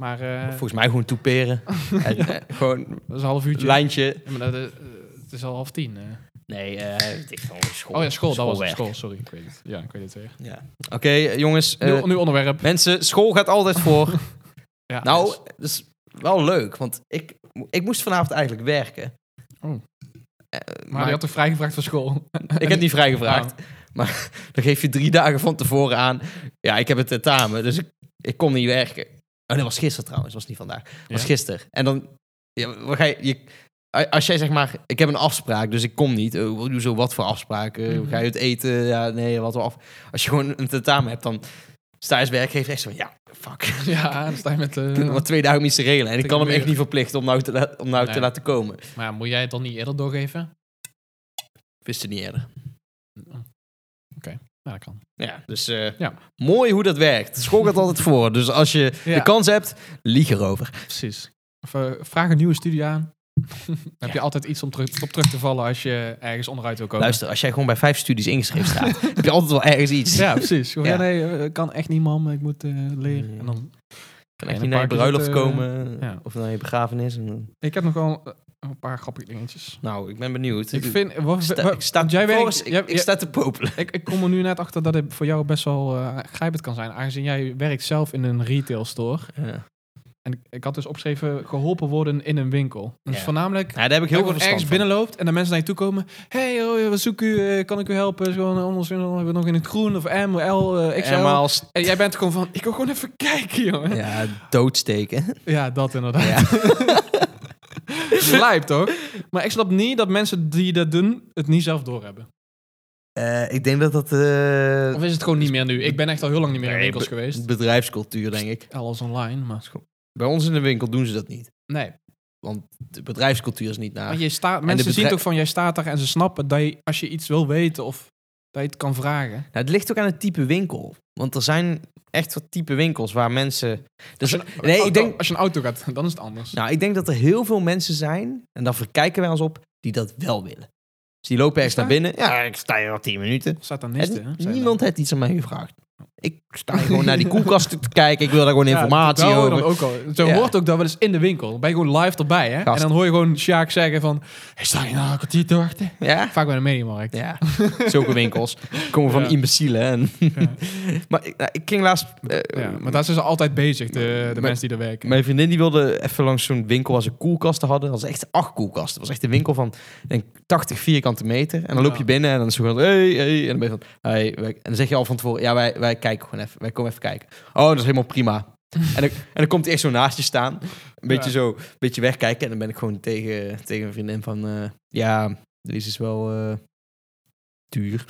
Maar eh
Volgens mij gewoon toeperen. En, eh, gewoon
dat is een half uurtje.
lijntje.
Ja, maar dat, eh, het is al half tien. eh.
Nee, eh ik vond school.
Oh ja, school, dat was het.
Schoolwerk.
School, sorry. Ik weet het. Ja, ik weet het weer.
Ja. Oké, jongens. eh,
Nu, nu onderwerp.
mensen, school gaat altijd voor.
Ah, Ja,
nou,
dus-
dat is wel leuk, want ik, ik moest vanavond eigenlijk werken.
Oh.
Eh,
maar
maar
die had toch vrijgevraagd van school?
ik heb niet vrijgevraagd. Dan geef je drie dagen van tevoren aan. Ja, ik heb het tentamen, dus ik, ik kon niet werken. Oh, dat was gisteren trouwens, dat was niet vandaag. Dat was
Ja.
gisteren. En dan, ja, wat ga je, je- als jij zeg maar, ik heb een afspraak, dus ik kom niet. Eh, wat- hoezo, wat voor afspraak? Eh,
Mhm.
Ga je het eten? Ja, nee, wat voor af. Als je gewoon een tentamen hebt, dan sta je als werkgever echt zo van, ja, fuck.
Oh. Ja, dan sta je met... eh,
Ik heb nog maar twee dagen om iets te regelen. En ik
Tegen
kan hem
de
echt
muur.
niet verplichten om nou te, la- om nou te
Nee.
laten komen. Ik
maar ja, moet jij het dan niet eerder doorgeven?
wist het niet eerder.
Oh. Oké, ja, dat kan.
Ja, dus eh,
Ja.
mooi hoe dat werkt. School gaat altijd voor. Dus als je
Ja.
de kans hebt, lieg erover.
Precies. Of, eh, vraag een nieuwe studie aan. Dan heb je altijd iets om terug, op terug te vallen als je ergens onderuit wil komen.
Luister, als jij gewoon bij vijf studies ingeschreven staat, heb je altijd wel ergens iets.
Ja, precies. Gewoon,
Ja.
Ja. nee, eh, kan echt niet, mam. Ik moet eh, leren.
Nee.
En dan,
Kan
in
echt
een
niet naar je
park is
bruiloft
het, eh,
komen
ja.
of naar je begrafenis. En dan-
ik heb nog wel eh, een paar grappige dingetjes.
Nou, ik ben benieuwd.
Ik vind... Wat,
sta,
wat-
ik sta,
want jij
volgens-
werkt,
ik,
jij-
ik
jij-
sta te popelen.
Ik, ik kom er nu net achter dat het voor jou best wel eh grijpend kan zijn. Aangezien jij werkt zelf in een retail store.
Ja.
En ik, ik had dus opgeschreven geholpen worden in een winkel. Dus
Ja.
voornamelijk
daar heb ik heel
dat je
veel
gewoon ergens
verstand van.
binnenloopt en de mensen naar je toe komen. Hey, oh, wat zoek u? Eh, kan ik u helpen? Is gewoon anders hebben we nog in het groen of M, L, eh, XL.
Helemaal st-
En jij bent gewoon van, ik wil gewoon even kijken, jongen. Ja,
ja, doodsteken.
dat inderdaad.
Ja.
Lijp toch? Maar ik snap niet dat mensen die dat doen, het niet zelf doorhebben.
Eh, ik denk dat dat eh,
Of is het gewoon niet meer nu? Ik ben echt al heel lang niet meer in
Nee,
winkels
be-
geweest.
bedrijfscultuur, denk ik.
Alles online, maar...
Bij ons in de winkel doen ze dat niet.
Nee,
De bedrijfscultuur is niet naar.
Maar je staat, mensen
bedrij-
zien toch van jij staat daar en ze snappen dat je, als je iets wil weten of dat je het kan vragen.
Nou, het ligt ook aan het type winkel. Want er zijn echt wat type winkels waar mensen. Dus, nee,
Auto-
ik denk,
Als je Oh, een auto gaat, dan is het anders.
nou, ik denk dat er heel veel mensen zijn, en daar verkijken wij ons op, die dat wel willen. Dus die lopen ergens
Is
naar
dat?
binnen. Ja, ik sta hier al tien minuten.
Satanisten,
En
hè? zei
niemand heeft iets aan mij gevraagd. Ik sta hier gewoon naar die koelkast te kijken. Ik wil daar gewoon
dat. Ja,
informatie
dat hoor je
over.
Dan ook al. Zo
Ja.
hoort ook dat wel eens in de winkel. Dan ben je gewoon live erbij, hè?
Gast.
En dan hoor je gewoon Sjaak zeggen van... Hey, sta je nou een kwartier te wachten?
Ja?
Vaak bij de mediamarkt.
Ja, zulke winkels komen van
Ja.
imbecielen. En
Ja.
maar ik, nou, ik ging laatst... eh,
Ja, maar daar zijn ze altijd bezig, de, de
Maar-
mensen die er werken.
Mijn vriendin die wilde even langs zo'n winkel waar ze koelkasten hadden. Dat was echt acht koelkasten. Het was echt een winkel van denk, 80 vierkante meter. En dan loop je
Ja.
binnen en dan is het gewoon... Hey, hey. En dan ben je van... Hey, wij- en dan zeg je al van tevoren... Ja, wij, wij kijken gewoon even. Wij komen even kijken. Oh, dat is helemaal prima. en, dan, en dan komt hij echt zo naast je staan. Een beetje
Ja.
zo... Een beetje wegkijken. En dan ben ik gewoon tegen, tegen een vriendin van... eh, ja, deze is wel... eh, duur.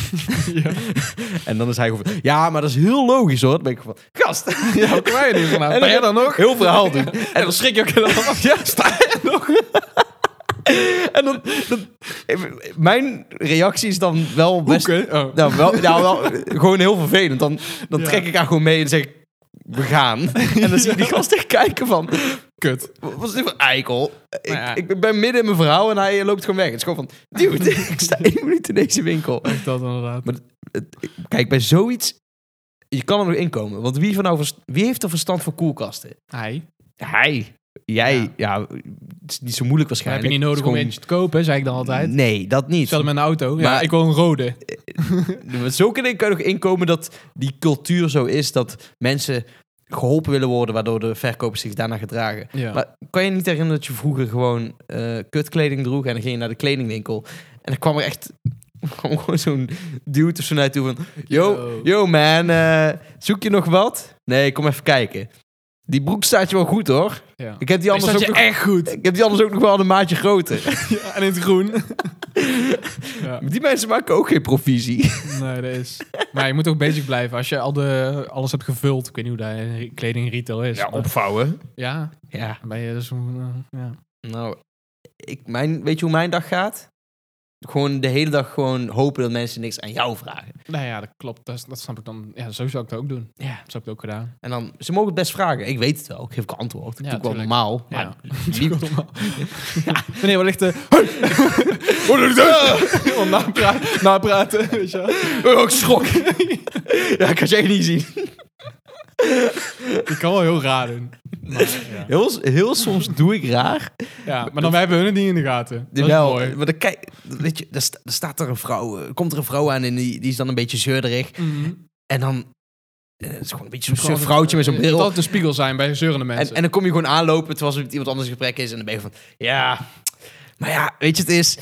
ja.
En dan is hij gewoon... van, Ja, maar dat is heel logisch hoor. Dan ben ik gewoon... van, Gast!
ja, hoe kom jij er nu vanaf?
En
Ben jij
dan
dan nog?
Heel verhaal doen. En dan schrik je ook helemaal af. Ja, sta je nog? En dan, dan- Mijn reactie is dan wel best...
Hoeken? Oh.
Nou, wel, nou, wel, gewoon heel vervelend. Dan, dan
Ja.
trek ik haar gewoon mee en zeg ik... We gaan. En dan zie ik die gast echt kijken van...
Kut.
Wat is dit voor eikel? Ik,
ja.
ik ben midden in mijn verhaal en hij loopt gewoon weg. Het is gewoon van... Dude, ik sta één minuut in deze winkel.
Echt dat inderdaad.
Kijk, bij zoiets... Je kan er nog inkomen. Want wie, van nou, vers- wie heeft er verstand voor koelkasten?
Hij.
Hij. Jij. Ja.
Ja.
het is niet zo moeilijk
Dat heb
waarschijnlijk.
je niet nodig
Het is
om
gewoon-
eentje te kopen, zei ik dan altijd.
Nee, dat niet.
Stel hem in een auto. Ja,
Maar-
ik wil een rode.
Zo kan ik er nog inkomen dat die cultuur zo is dat mensen geholpen willen worden, waardoor de verkopers zich daarna gedragen.
Ja.
Maar kan je niet herinneren dat je vroeger gewoon eh, kutkleding droeg en dan ging je naar de kledingwinkel en er kwam er echt kwam gewoon zo'n dude of zo naar je toe van yo,
Yo.
yo man, eh, zoek je nog wat? Nee, kom even kijken. Die broek staat je wel goed hoor.
ja.
Ik heb die anders, ook nog,
echt goed.
ik heb die anders ook nog wel een maatje groter.
Ja, en in het groen. ja.
die mensen maken ook geen provisie.
Nee, dat is... Maar je moet ook bezig blijven. Als je al de, alles hebt gevuld, ik weet niet hoe dat in kleding retail is. maar-
opvouwen.
ja,
Ja.
dan ben je dus... een, eh, ja.
Nou, ik, mijn, weet je hoe mijn dag gaat? Gewoon de hele dag gewoon hopen dat mensen niks aan jou vragen.
Nou ja, dat klopt. Dat, dat snap ik dan. Ja, zo zou ik dat ook doen.
Ja.
Dat heb ik ook gedaan.
En dan, ze mogen het best vragen. Ik weet het wel, ik geef ook antwoord. Ik
Ja,
doe ik wel
tuurlijk.
normaal.
Ja.
Maar liep-
Meneer, wat ligt de... Om napraten, napraten, weet je wel.
Oh, ik schrok. ja, kan jij niet zien.
Ik kan wel heel raar doen. Maar, ja.
Heel, heel soms doe ik raar.
ja, maar dan wij hebben hun het niet in de gaten. Dat is
Jawel,
mooi.
maar dan kijk, weet je, daar, sta- daar staat er een vrouw, eh, komt er een vrouw aan en die, die is dan een beetje zeurderig.
Mhm.
En dan, eh, het is gewoon een beetje zo'n zeur vrouwtje met zo'n
Het moet
bril.
altijd een spiegel zijn bij zeurende
En,
mensen.
en dan kom je gewoon aanlopen terwijl ze met iemand anders in gesprek is. En dan ben je van, ja, maar ja, weet je, het is...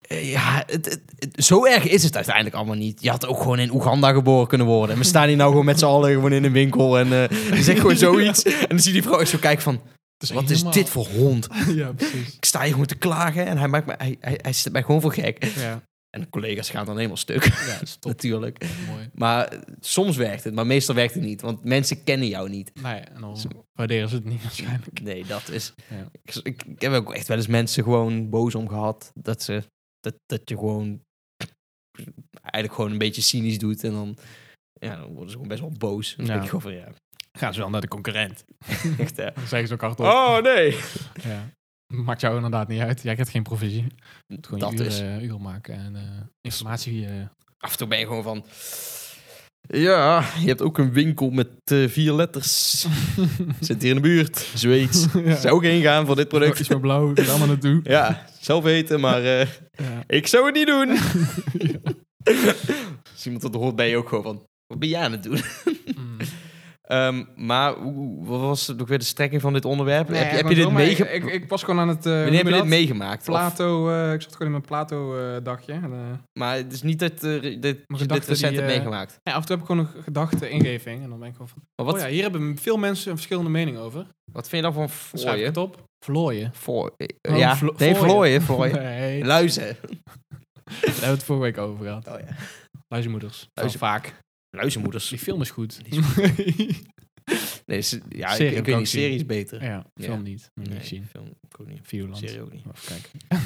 eh, Ja, het, het- het- zo erg is het uiteindelijk allemaal niet. Je had ook gewoon in Oeganda geboren kunnen worden. En we staan hier nou gewoon met z'n allen gewoon in een winkel. En eh je zegt gewoon zoiets. En dan zie je die vrouw echt zo kijken van...
Het
Wat is dit voor hond?
helemaal- Ja, precies.
Ik sta hier gewoon te klagen en hij, maakt me, hij, hij, hij zet mij gewoon voor gek.
Ja,
En de collega's gaan dan helemaal stuk,
ja dat is top.
natuurlijk.
Mooi.
Maar eh, soms werkt het, maar meestal werkt het niet. Want mensen kennen jou niet.
Nee, en dan waarderen ze het niet waarschijnlijk.
Nee, dat is.
Ja.
Ik, ik, ik heb ook echt wel eens mensen gewoon boos om gehad. Dat, ze, dat, dat je gewoon. eigenlijk gewoon een beetje cynisch doet. En dan. Ja, dan worden ze gewoon best wel boos. Dan
Ja.
denk ik gewoon van ja.
Gaan ze wel naar de concurrent.
Echt, hè.
Dan zeggen ze ook hardop.
Oh nee!
Ja. Maakt jou inderdaad niet uit. Jij krijgt geen provisie. Je moet gewoon
Dat
je
is.
uren, uren maken en eh, informatie... eh,
Af en toe ben je gewoon van. Ja, je hebt ook een winkel met eh, vier letters. Zit hier in de buurt. Zweeds.
ja.
Zou ik heen gaan voor dit product.
Iets meer blauw, ik ga allemaal naartoe.
Ja, zelf eten, maar eh,
Ja.
ik zou het niet doen. Als iemand dat hoort, ben je ook gewoon van... Wat ben jij aan het doen?
Mm.
Ehm, maar oeh, wat was het ook weer de strekking van dit onderwerp? heb je, heb
Nee,
je dit
maar ik-
meegemaakt?
Ik, ik was gewoon aan het... eh, hoe
Wanneer heb je dit
noem dat?
meegemaakt? Of-
Plato, eh, ik zat gewoon in mijn Plato-dagje. en eh,
maar het is niet dat eh, dit, je dit
gedachten
recent
die,
hebt
eh,
meegemaakt.
ja, af en toe heb ik gewoon een gedachte-ingeving. En dan ben ik gewoon van...
Maar wat,
Oh ja, hier hebben veel mensen een verschillende mening over.
wat vind je dan van
Dan schrijf ik
vlooien?
het op. Vlooien.
Voor, eh,
Oh,
ja,
vlo-
nee,
vlooien.
vlooien. vlooien.
Nee, Oh, daar
Luizen.
hebben we het vorige week over gehad.
Oh, ja.
Luizenmoeders. Luizen.
Luizen-
vaak.
Luizenmoeders.
Die film is goed.
Nee, ze- ja,
Serie
ik, ik
heb ik
weet
ook
niet,
gezien.
serie is beter.
ja, film
Ja.
niet. Moet ik
Nee,
niet zien.
film ik ook niet.
Violand.
Serie ook niet.
Even kijken.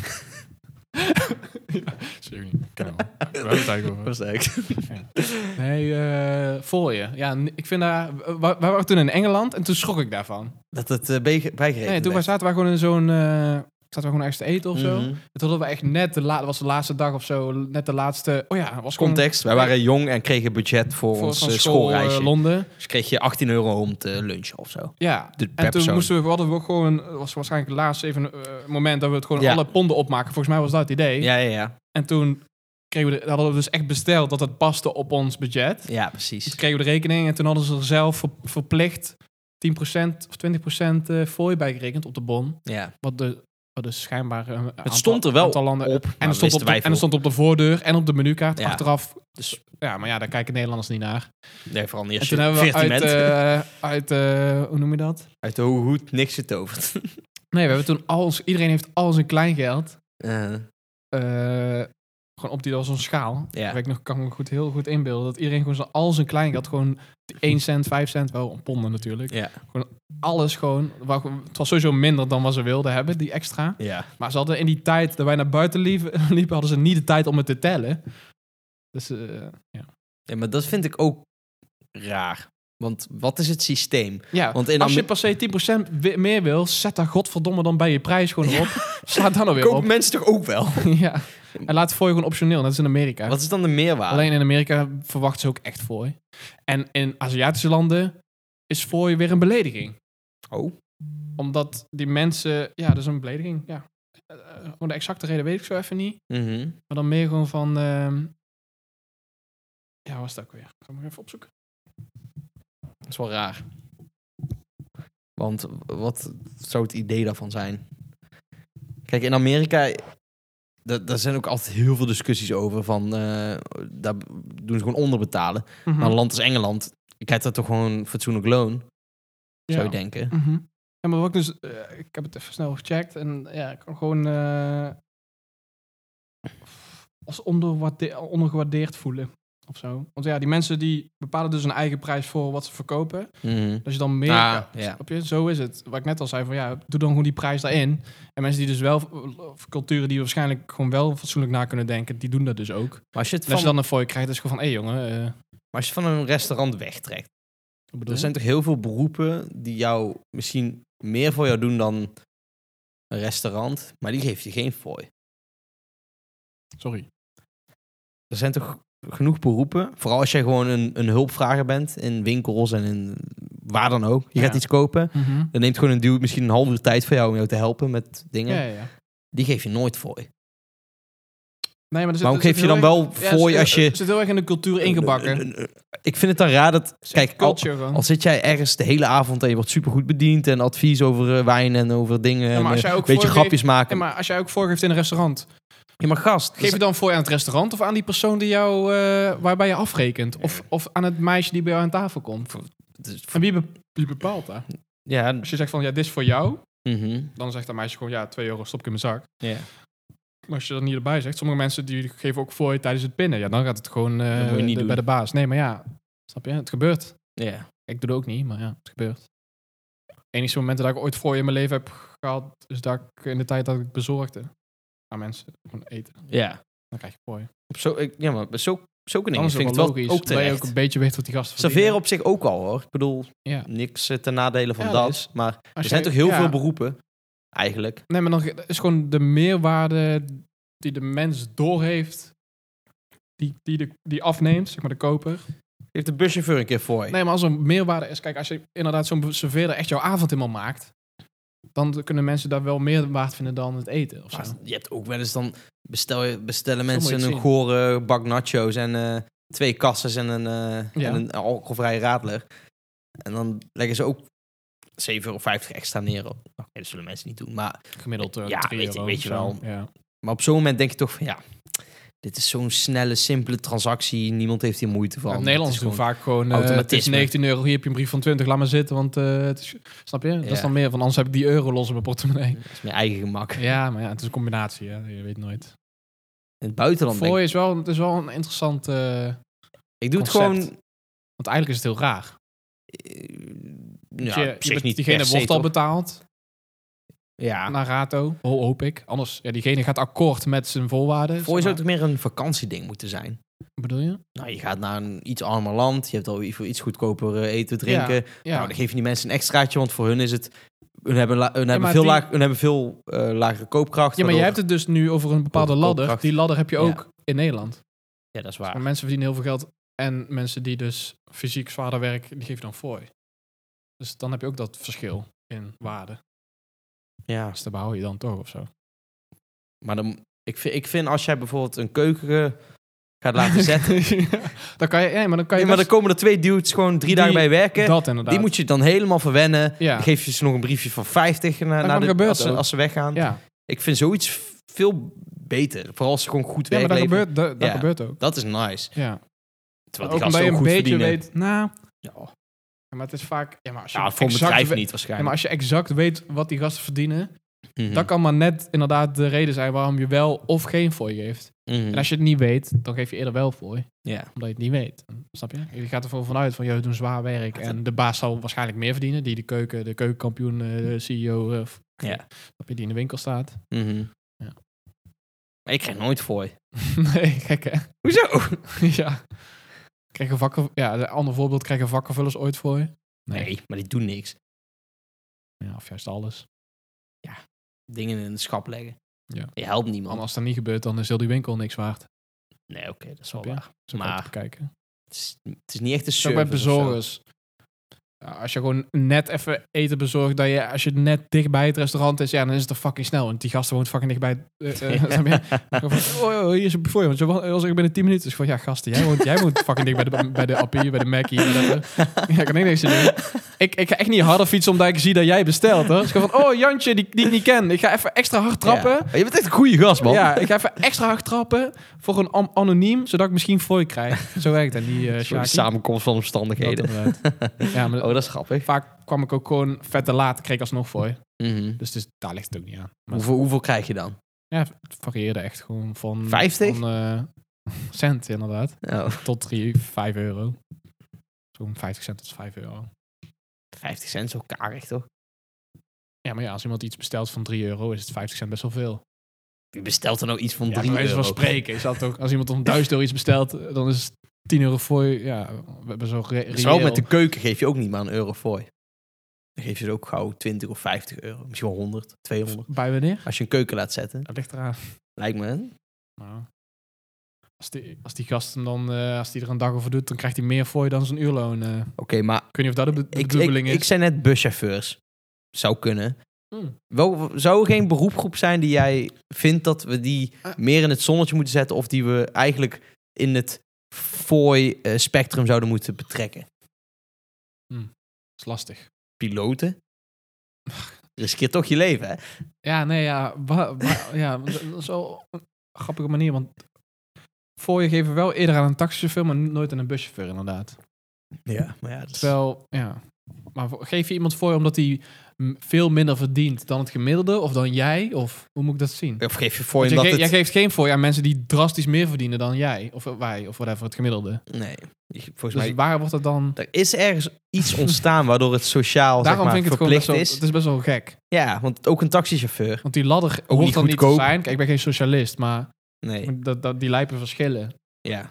ja, serieus niet. Kan wel. We hebben het eigenlijk over.
was eigenlijk.
Nee, eh fooien. Ja, n- ik vind daar... wa- wa- We waren toen in Engeland en toen schrok ik daarvan.
Dat het uh, bijgerekend
Nee, toen wij zaten we gewoon in zo'n... eh, zaten we gewoon ergens te eten of zo.
Mhm.
En toen hadden we echt net de laatste... was de laatste dag of zo. Net de laatste... Oh ja, was gewoon...
Context, wij waren jong en kregen budget voor,
voor
ons
van
eh,
school, eh,
schoolreisje.
Londen.
dus kreeg je 18 euro om te lunchen of zo.
Ja,
De- per
en toen
persoon.
moesten we, we hadden we ook gewoon, het was waarschijnlijk het laatste even eh, moment dat we het gewoon
Ja.
alle ponden opmaken. Volgens mij was dat het idee.
Ja, ja, ja.
En toen kregen we de, hadden we dus echt besteld dat het paste op ons budget.
Ja,
Dus
precies.
kregen we de rekening en toen hadden ze er zelf ver- verplicht 10% of 20% eh fooi bijgerekend op de bon.
Ja.
Wat de wat dus schijnbaar een aantal-
stond er wel
aantal landen
op, maar
en er stond
wisten
op, de,
wij
en
veel.
er stond op de voordeur en op de menukaart
Ja.
achteraf.
Dus
Ja, maar ja, daar kijken Nederlanders niet naar.
nee, vooral niet
En
als
toen
je
hebben we
14
uit,
bent.
eh, uit eh, hoe noem je dat?
Uit de hoge hoed niks getoverd.
Nee, we hebben toen al ons, iedereen heeft al zijn kleingeld.
Eh,
eh gewoon op die als een schaal.
Ja.
Waar Ik nog, kan me goed, heel goed inbeelden dat iedereen gewoon zijn, al zijn kleingeld, gewoon 1 cent, 5 cent, wel een ponden natuurlijk.
ja.
Alles gewoon, waar, het was sowieso minder dan wat ze wilden hebben, die extra.
ja.
Maar ze hadden in die tijd dat wij naar buiten lieven- liepen, hadden ze niet de tijd om het te tellen. Dus eh, ja.
Ja, maar dat vind ik ook raar. Want wat is het systeem?
ja.
Want in
Als je
Amer-
per se 10% wi- meer wil, zet daar godverdomme dan bij je prijs gewoon op. Sla dan nou weer
Kopen
op.
mensen toch ook wel?
ja. En laat voor je gewoon optioneel, dat is in Amerika.
Wat is dan de meerwaarde?
Alleen in Amerika verwachten ze ook echt fooi. En in Aziatische landen is fooi weer een belediging.
Oh.
Omdat die mensen... Ja, dat is een belediging, ja. Eh, eh, maar de exacte reden weet ik zo even niet.
Mhm.
Maar dan meer gewoon van... ehm, ja, wat was dat ook weer? Ik ga hem nog even opzoeken.
Dat is wel raar. Want wat zou het idee daarvan zijn? Kijk, in Amerika, da- daar zijn ook altijd heel veel discussies over. Van, eh, daar doen ze gewoon onderbetalen.
Mhm. Hm.
Maar een land als Engeland, je krijgt daar toch gewoon een fatsoenlijk loon, zou je denken.
Mhm. Ja, maar wat ik dus... eh, ik heb het even snel gecheckt. En ja, ik kan gewoon... eh, als onderwaarde- ondergewaardeerd voelen. Of zo. Want ja, die mensen die bepalen dus hun eigen prijs voor wat ze verkopen.
Mhm.
Dus je dan meer...
Ah,
ja,
ja.
snap je? Zo is het. Wat ik net al zei, van ja, doe dan gewoon die prijs daarin. En mensen die dus wel... Of culturen die waarschijnlijk gewoon wel fatsoenlijk na kunnen denken, die doen dat dus ook. En
Maar als je het
als
van,
je dan een fooi krijgt, is het gewoon van... Hé jongen, eh, wat
maar als je het van een restaurant wegtrekt.
bedoel
Er
je?
zijn toch heel veel beroepen die jou misschien meer voor jou doen dan een restaurant, maar die geeft je geen fooi.
Sorry.
Er zijn toch genoeg beroepen, vooral als jij gewoon een, een hulpvrager bent in winkels en in waar dan ook. Je
Ja.
gaat iets kopen, dan neemt gewoon een dude misschien een half uur tijd voor jou om jou te helpen met dingen.
Ja, ja, ja.
Die geef je nooit fooi.
Nee, maar er zit-
Waarom
er zit
geef je
heel
dan
erg-
wel fooi
er zit-
als je-
er zit heel erg in de cultuur ingebakken.
Eh, eh, eh, Ik vind het dan raar dat... Kijk, al,
Culture gewoon.
al zit jij ergens de hele avond en je wordt supergoed bediend en advies over eh, wijn en over dingen en
maar als
eh,
jij
een
ook
beetje
voorgeeft-
grapjes maken.
Ja, maar als jij ook voorgeeft in een restaurant,
Dus- Ja, maar gast, dus-
geef je dan voor aan het restaurant of aan die persoon die jou, eh, waarbij je afrekent? Of, of aan het meisje die bij jou aan tafel komt?
dus-
En wie, be- wie bepaalt dat?
ja,
Als je zegt van ja, dit is voor jou,
mhm.
dan zegt dat meisje gewoon ja, 2 euro stop ik in mijn zak.
Ja.
Maar als je dat niet erbij zegt, sommige mensen die geven ook voor tijdens het pinnen. Ja, dan gaat het gewoon eh,
Dat moet je niet
de-
doen.
bij de baas. Nee, maar ja, snap je? Het gebeurt.
Ja.
Ik doe het ook niet, maar ja, het gebeurt. enige moment dat ik ooit voor in mijn leven heb gehad, is dat ik in de tijd dat ik bezorgde aan mensen gewoon eten.
Ja.
Dan krijg je fooi.
Op zo, ik, ja, maar zo, zulke dingen
Dan is
vind
het
ik
wel
het wel
logisch.
ook
dat je
terecht.
ook een beetje weet wat die gasten
Serveren op zich ook al hoor. Ik bedoel,
Ja.
niks eh, ten nadele van
Ja,
dat.
dat is-
Maar
Als
er
je-
zijn toch heel
ja.
veel beroepen, eigenlijk.
Nee, maar dan ge- is gewoon de meerwaarde die de mens doorheeft, die, die, de, die afneemt, zeg maar de koper.
Heeft de buschauffeur een keer voor je.
Nee, maar als er meerwaarde is, kijk, als je inderdaad zo'n serveerder echt jouw avond helemaal maakt, dan kunnen mensen daar wel meer waard vinden dan het eten of zo.
Maar je hebt ook wel eens dan bestel, je- bestellen mensen
moet je
een
zien.
gore bak nachos en eh, twee kassas en een, eh,
Ja.
en een alcoholvrije radler. En dan leggen ze ook 7,50 euro extra neer. op. Oké, dat zullen mensen niet doen. Maar
Gemiddeld eh,
Ja,
drie
weet je-
euro
weet
of
je
zo.
wel.
Ja.
Maar op zo'n moment denk je toch van ja, dit is zo'n snelle, simpele transactie. Niemand heeft hier moeite van.
Ja, Nederlanders
Het is
doen
gewoon-
vaak gewoon... eh, het is
automatisme.
19 euro, hier heb je een brief van 20, laat maar zitten. Want eh, het is, snap je? Dat
Ja.
is dan meer, van anders heb ik die euro los op mijn portemonnee.
Het is mijn eigen gemak.
Ja, maar ja, het is een combinatie, hè? je weet nooit.
In het buitenland denk
Fooi
ik.
is wel, het is wel een interessant... eh,
Ik doe het
concept.
gewoon...
want eigenlijk is het heel raar.
eh, Ja,
Je- je
op zich
bet-
niet
diegene
per se,
wordt al Nou,
toch?
betaald
Ja.
naar Rato, ho- hoop ik. Anders, ja, diegene gaat akkoord met zijn voorwaarden.
Voor
zeg
je zou toch meer een vakantieding moeten zijn?
maar. bedoel je?
Nou, je gaat naar een iets armer land. Je hebt al voor iets goedkoper eh, eten, drinken.
Ja.
Nou, dan geef je die mensen een extraatje, want voor hun is het... Hun hebben, la- hun hebben,
maar
veel,
die-
laag, hun hebben veel eh, lagere koopkracht.
ja, maar je
waardoor-
hebt het dus nu over een bepaalde
Over
ladder.
koopkracht.
Die ladder heb je
Ja.
ook in Nederland.
Ja, dat is
Maar
waar.
mensen verdienen heel veel geld. En mensen die dus fysiek zwaarder werken, die geven dan fooi. Dus dan heb je ook dat verschil in waarde.
Ja,
Dus daar behoud je dan toch of zo.
maar dan, ik, vind, ik vind als jij bijvoorbeeld een keuken eh, gaat laten zetten...
dan kan je, nee, maar dan kan je
Nee, maar dan
best-
komen er twee dudes gewoon drie
Die-
dagen bij werken.
dat inderdaad.
die moet je dan helemaal verwennen.
ja.
Dan geef je ze nog een briefje van 50 na, na
kan
de,
gebeuren
als, ze,
ook.
als ze weggaan.
ja.
Ik vind zoiets v- veel beter. Vooral als ze gewoon goed
ja, maar
werk
dat
leveren.
gebeurt, dat, dat
Ja.
gebeurt ook.
Dat is nice.
Ja.
Terwijl
ook
die gasten
je een
ook goed
beetje
verdienen.
weet, nou,
Ja,
ja, maar het is vaak... Ja, maar als je
Ja, voor een
exact
bedrijf
we-
niet
Ja, maar
waarschijnlijk.
als je exact weet wat die gasten verdienen,
Mhm.
dat kan maar net inderdaad de reden zijn waarom je wel of geen fooi geeft.
Mhm.
En als je het niet weet, dan geef je eerder wel fooi.
Ja.
omdat je het niet weet. Snap je? Je gaat ervan vanuit van, joh, we doen zwaar werk. En de baas zal waarschijnlijk meer verdienen. Die de keuken, de keukenkampioen, eh, de CEO, eh, f-
Ja.
snap je, die in de winkel staat.
Mhm.
Ja.
Maar ik krijg nooit fooi.
nee, gek hè?
Hoezo?
ja. Krijgen vakken, ja, een ander voorbeeld, krijgen vakkenvullers ooit voor je?
Nee. maar die doen niks.
Ja, of juist alles.
Dingen in het schap leggen.
Ja.
Je helpt niemand.
Want als dat niet gebeurt, dan is heel die winkel niks waard.
Nee, oké, dat is wel
Snap je?
waar.
Zo kan je
Maar-
het bekijken.
Het is, het is niet echt een
Zo
service
bij
of zo.
bezorgers. Ja, als je gewoon net even eten bezorgt, dat je, als je net dichtbij het restaurant is, ja, dan is het er fucking snel. Want die gast woont fucking dichtbij. het- eh, eh, snap je? Dan van, oh, oh, hier is een voor je. Want ze wa- was ik binnen 10 minuten. Dus van, ja, gasten, jij woont, jij woont fucking dicht bij de, bij de Appie, bij de Mackie. whatever. Ja, ik kan ik niks aan doen. Ik, ik ga echt niet harder fietsen omdat ik zie dat jij bestelt. Hoor. Dus ik ga van, oh, Jantje, die, die ik niet ken. Ik ga even extra hard trappen.
Ja. Je bent echt een goede gast, man.
Ja, ik ga even extra hard trappen voor een am- anoniem, zodat ik misschien fooi krijg. Zo werkt dat, die eh
Een soort
Sjaki.
samenkomst van
Dat
omstandigheden.
inderdaad. ja, maar
Oh, dat is grappig.
vaak kwam ik ook gewoon vet te laat, kreeg ik alsnog fooi.
Mhm.
Dus, dus daar ligt het ook niet aan. Maar
Hoeveel, hoeveel krijg je dan?
ja, het varieerde echt gewoon van...
50?
Van, eh, cent inderdaad,
Oh,
tot 3, 5 euro. Zo'n 50 cent tot 5 euro.
50 cent, zo karig toch?
Ja, maar ja, als iemand iets bestelt van 3 euro, is het 50 cent best wel veel.
Wie bestelt dan nou iets van
Ja,
3
bij wijze
euro?
van spreken is dat toch... Als iemand om 1000 euro iets bestelt, eh, dan is 10 euro fooi, ja, we hebben zo re-
Dus wel
reëel.
met de keuken geef je ook niet maar een euro voor. Dan geef je ze ook gauw 20 of 50 euro. Misschien wel 100, 200.
Bij wanneer?
Als je een keuken laat zetten,
Dat ligt eraan.
lijkt me. hè?
Nou, Als die, als die gast hem dan, eh, als die er een dag over doet, dan krijgt hij meer voor je dan zijn uurloon. eh.
Oké, maar
Ik weet niet of dat de, be- de
ik, ik,
bedoeling
ik
is.
zei net buschauffeurs. Zou kunnen.
Hmm.
Wel, zou er geen beroepgroep zijn die jij vindt dat we die
Ah.
meer in het zonnetje moeten zetten? Of die we eigenlijk in het fooi eh, spectrum zouden moeten betrekken?
Dat is lastig.
Piloten? Riskeer toch je leven, hè?
Ja, nee, ja. wa- wa- ja dat is wel een grappige manier, want voor je geven wel eerder aan een taxichauffeur, maar nooit aan een buschauffeur inderdaad.
Ja, maar ja, dat is...
Terwijl, ja. Maar voor- geef je iemand voor je omdat hij m, veel minder verdient dan het gemiddelde of dan jij? Of hoe moet ik dat zien?
Of geef je voor
Want
omdat
jij, ge-
het...
jij geeft geen voor aan mensen die drastisch meer verdienen dan jij of wij of whatever, het gemiddelde.
Nee, je- volgens
Dus
mij...
waar wordt dat dan?
Er is ergens iets ontstaan waardoor het sociaal zeg
Daarom
maar,
vind ik het gewoon
verplicht
best wel,
is.
het is best wel gek.
Ja, want ook een taxichauffeur.
Want die ladder ook
niet
hoeft dan niet te
goedkoop.
zijn. Kijk, ik ben geen socialist, maar
Nee,
dat, dat, die lijpen verschillen.
ja.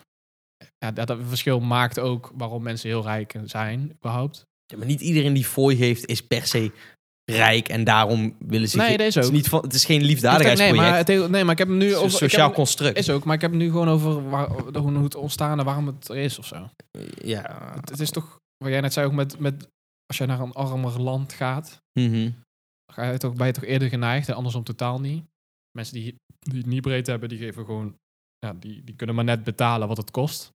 Ja, dat, dat verschil maakt ook waarom mensen heel rijk zijn, überhaupt.
Ja, Maar niet iedereen die fooi heeft is per se rijk en daarom willen ze...
Nee,
ge-
deze
het, is
ook.
niet van, het is geen
nee,
liefdadigheidsproject.
maar het, heel- nee, maar ik heb hem nu
het is
over...
een
ik heb
sociaal
hem-
construct.
is ook, maar ik heb hem nu gewoon over waar, hoe hoe het ontstaan en waarom het er is of zo.
Ja.
Het, het is toch, wat jij net zei ook met, met... Als jij naar een armer land gaat,
Mhm.
ga je toch, ben je toch eerder geneigd en andersom totaal niet. Mensen die, die het niet breed hebben, die geven gewoon, ja, die, die kunnen maar net betalen wat het kost.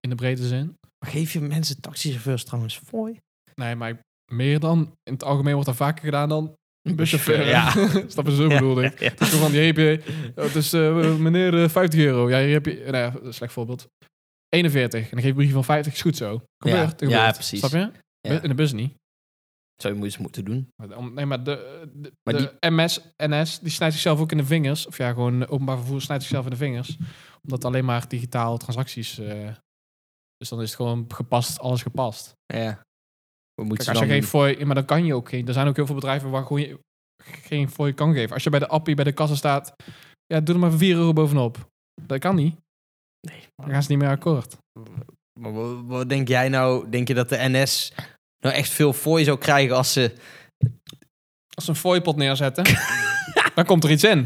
In de brede zin.
Maar geef je mensen taxichauffeurs trouwens fooi?
Nee, maar ik- meer dan, in het algemeen wordt dat vaker gedaan dan een buschauffeur.
Dus, eh, Ja.
Snap je, zo bedoelde ik.
Ja.
Dus van, die heb je, het is eh, meneer eh, 50 euro. Ja, hier heb je, nou ja, dat is een slecht voorbeeld. 41. En dan geef je een brief van 50, is goed zo. Gebeurt,
Ja,
gebeurt.
ja, precies.
Snap je?
Ja.
In de bus niet.
Zou je moeite moeten doen.
Maar om- Nee, maar de, eh, de,
Maar
de MS, NS, die snijdt zichzelf ook in de vingers. Of ja, gewoon eh, openbaar vervoer snijdt zichzelf in de vingers. Omdat alleen maar digitaal transacties... eh, dus dan is het gewoon gepast, alles gepast.
Ja. We moeten
Kijk, als je
dan...
geen fooi... Ja, maar dan kan je ook geen... Er zijn ook heel veel bedrijven waar gewoon je geen fooi kan geven. Als je bij de appie, bij de kassa staat... Ja, doe er maar 4 euro bovenop. Dat kan niet.
Nee,
Dan gaan ze niet meer akkoord.
Maar wat, wat denk jij nou? Denk je dat de NS nou echt veel fooi zou krijgen als ze...
Als ze een fooipot neerzetten... dan komt er iets in.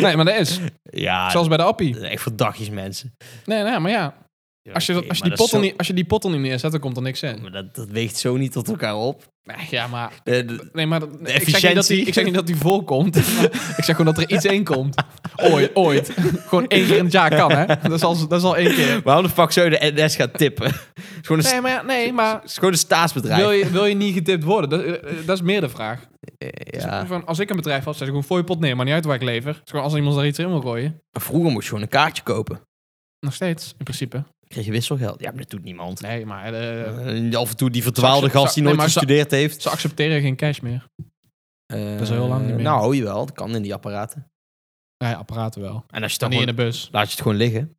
Nee, maar dat is.
Ja,
Zelfs bij de appie.
dat is echt voor dagjes mensen.
Nee, nee, maar ja... Als je, dat, als, je die pot
potten
er niet, als je die pot er niet neerzet, dan komt er niks in.
Maar dat, dat weegt zo niet tot elkaar op.
Ja, maar...
Eh, d-
Nee, maar dat- ik, zeg niet dat die,
efficiëntie.
ik zeg niet dat die vol komt. maar ik zeg gewoon dat er iets in komt. Ooit, ooit. Gewoon één keer in het jaar kan, hè. Dat is al, dat is al één keer.
waarom de fuck zou je de NS gaan tippen? Het is gewoon een, sta-
Nee, maar, ja, nee, maar
het is gewoon een staatsbedrijf.
wil je, wil je niet getipt worden? Dat, eh, eh, dat is meer de vraag.
Eh,
Dus
ja.
van, als ik een bedrijf had, zet ik gewoon voor je pot neer. Maar niet uit waar ik lever. Het is gewoon als iemand daar iets in wil gooien.
Maar Vroeger moest je gewoon een kaartje kopen. Dan
Nog steeds, in principe.
kreeg je wisselgeld. Ja, maar dat doet niemand.
Nee, maar eh,
Eh, af en toe die verdwaalde
Zou- zou-
gast die
nee,
nooit
maar zou-
gestudeerd heeft.
ze accepteren geen cash meer.
dat
is al heel lang niet meer.
Nou, jawel. Dat kan in die apparaten.
Nee, apparaten wel.
En als je
Dan
dan
niet in
gewoon,
de bus.
laat je het gewoon liggen.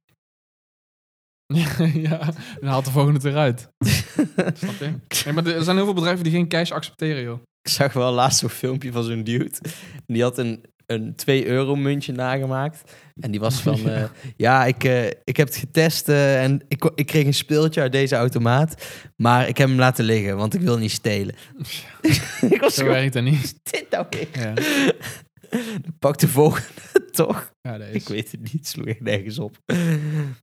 ja, dan haalt de volgende het eruit. Snap je? Nee, maar er zijn heel veel bedrijven die geen cash accepteren, joh.
Ik zag wel laatst zo'n filmpje van zo'n dude. En Die had een, een 2-euro-muntje nagemaakt. En die was van... eh, ja, ik, eh, ik heb het getest eh, en ik, ko- ik kreeg een speeltje uit deze automaat. Maar ik heb hem laten liggen, want ik wil niet stelen. ik was
Zo
gewoon,
werkt dat niet.
dit nou weer?
Ja,
Pak de volgende, toch?
ja dat is.
Ik weet het niet, het sloeg echt nergens op.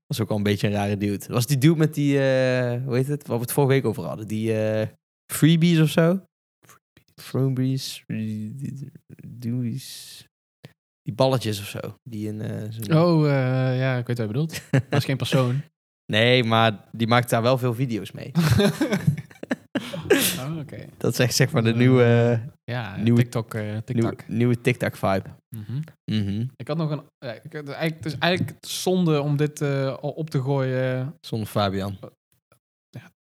was ook al een beetje een rare dude. Dat was die dude met die... eh, hoe heet het? Waar we het vorige week over hadden. Die... eh, freebies of zo. Freebies. Doeies. Die balletjes of zo. Die in eh, zo'n-
Oh, eh, ja, ik weet wat je bedoelt. Dat is geen persoon.
Nee, maar die maakt daar wel veel video's mee.
Oh, Oké.
Dat is echt zeg maar de nieuwe,
Ja,
Nieuwe-
TikTok. eh, TikTok.
nieuwe, nieuwe TikTok-vibe.
Mhm.
Mhm.
Ik had nog een... ja, ik, het, is eigenlijk, het is eigenlijk zonde om dit eh, al op te gooien.
Zonder Fabian.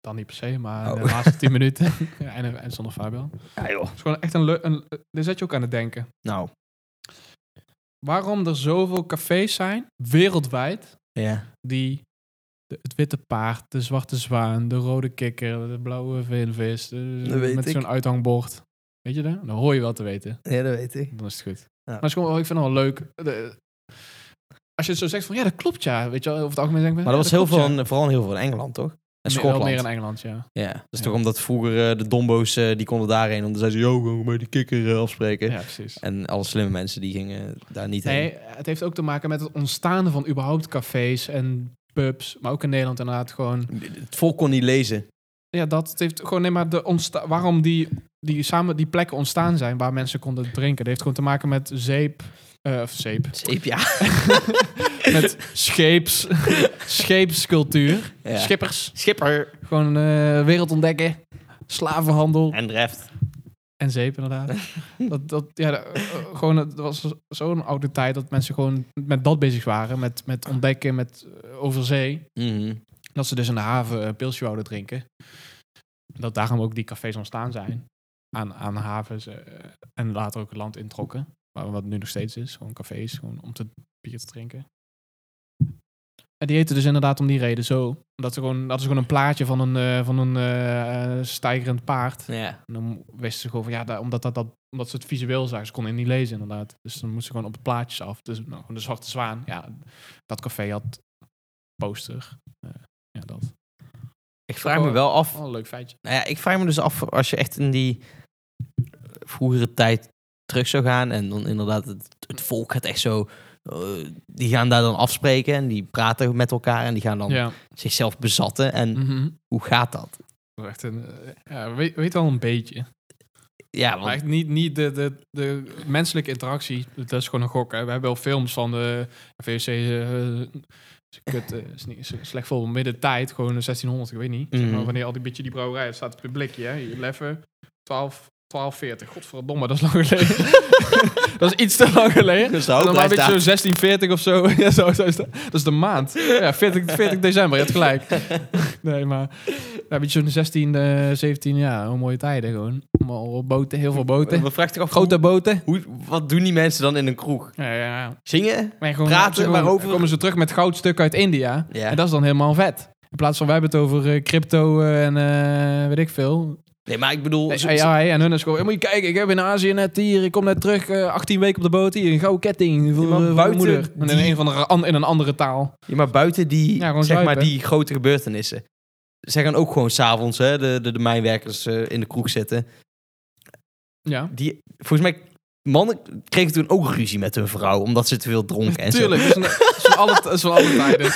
Dan niet per se, maar
Oh.
de laatste tien minuten. ja, en, en zonder Fabian.
Ja joh.
Het is gewoon echt een... leu- een dit zet je ook aan het denken.
Nou.
Waarom er zoveel cafés zijn, wereldwijd,
Ja.
die... de- Het witte paard, de zwarte zwaan, de rode kikker, de blauwe vinvis. de-
Dat weet
met
ik.
zo'n uithangbord. Weet je dat? Dan hoor je wel te weten.
Ja, dat weet ik.
Dan is het goed.
Ja.
Maar het is gewoon, oh, ik vind het wel leuk. De- als je het zo zegt van ja, dat klopt ja. Weet je wel, over het algemeen denk ik.
Maar dat was heel veel,
En
in- vooral heel veel in Engeland, toch? En Schotland.
Meer in Engeland, ja.
Ja, dat is
Ja.
toch omdat vroeger eh, de dombo's, eh, die konden daarheen. Omdat zeiden ze, yo, gaan we met die kikker eh, afspreken.
Ja, precies.
En alle slimme mensen, die gingen daar niet heen.
Nee, het heeft ook te maken met het ontstaan van überhaupt cafés en pubs. Maar ook in Nederland inderdaad gewoon.
Het volk kon niet lezen.
Ja, dat het heeft gewoon, nee, maar de ontstaan. Waarom die, die samen die plekken ontstaan zijn waar mensen konden drinken. Dat heeft gewoon te maken met zeep. eh, of zeep.
Zeep, ja.
Met scheeps, scheepscultuur.
Ja.
Schippers.
Schipper.
Gewoon eh, wereld ontdekken. Slavenhandel.
En dreft.
En zeep, inderdaad. dat, dat, ja, dat, eh, gewoon, het was zo'n oude tijd dat mensen gewoon met dat bezig waren. Met, met ontdekken, met eh, over zee.
Mhm.
Dat ze dus in de haven een pilsje wouden drinken. En Dat daarom ook die cafés ontstaan zijn. Aan, aan havens eh, en later ook het land introkken. Maar wat nu nog steeds is, gewoon cafés, gewoon om te bier te drinken. En die heten dus inderdaad om die reden zo. Dat ze gewoon, dat is gewoon een plaatje van een, eh, van een eh, stijgerend paard.
Ja.
En dan wisten ze gewoon van ja, daar- omdat, dat, dat, omdat ze het visueel zagen, ze konden het niet lezen inderdaad. Dus dan moesten ze gewoon op het plaatjes af. Dus nou, gewoon de Zwarte Zwaan, ja, dat café had poster. Eh, ja, dat.
Ik vraag me wel af...
Oh, een leuk feitje.
Nou ja, ik vraag me dus af, als je echt in die vroegere tijd terug zou gaan... en dan inderdaad het, het volk gaat echt zo... eh, die gaan daar dan afspreken en die praten met elkaar... en die gaan dan
Ja.
zichzelf bezatten. En
Mhm.
hoe gaat dat?
Dat is Echt een, eh, ja, weet, weet wel een beetje.
Ja, want
Maar echt niet, niet de, de, de menselijke interactie. Dat is gewoon een gok. Hè. We hebben wel films van de VOC. eh, is kut, eh, is niet- is slecht voor midden tijd. Gewoon 1600, ik weet niet. Zeg maar,
Mhm.
wanneer al die beetje die brouwerij het staat op je blikje. Hè. Je leffen 12, 1240. Godverdomme, dat is lang geleden. dat is iets te lang geleden.
Dus de hoop
Dan maar een
blijft
beetje zo 1640 of zo. ja, zo, zo is dat. dat is de maand. Ja, 40, 40 december, je hebt gelijk. Nee, maar ja, een beetje zo'n 16, eh, 17 jaar. Hoe mooie tijden gewoon. Allemaal boten, heel veel boten.
We vragen toch af,
Grote boten.
hoe, wat doen die mensen dan in een kroeg?
Ja, ja, ja.
Zingen?
Maar gewoon,
Praten,
ze
maar over-
dan komen ze terug met goudstukken uit India.
Ja.
En dat is dan helemaal vet. In plaats van wij hebben het over eh, crypto eh, en eh, weet ik veel.
Nee, maar ik bedoel... ze-
Nee, AI en hun is gewoon... "Ja, Moet je kijken, ik heb in Azië net hier... Ik kom net terug, eh, 18 weken op de boot hier. Een gouden ketting voor,
Ja, maar
eh, voor mijn
buiten
moeder. En in
die-
een, van de, an- in een andere taal.
Ja, maar buiten die,
Ja, gewoon
zeg
zuipen,
maar,
hè?
die grote gebeurtenissen. Zij gaan ook gewoon s'avonds de, de, de mijnwerkers eh, in de kroeg zitten.
Ja.
Die, volgens mij, mannen kregen toen ook ruzie met hun vrouw, omdat ze te veel dronken. en zo.
Tuurlijk, dat is, een- dat is van alle, dat is van alle tijden.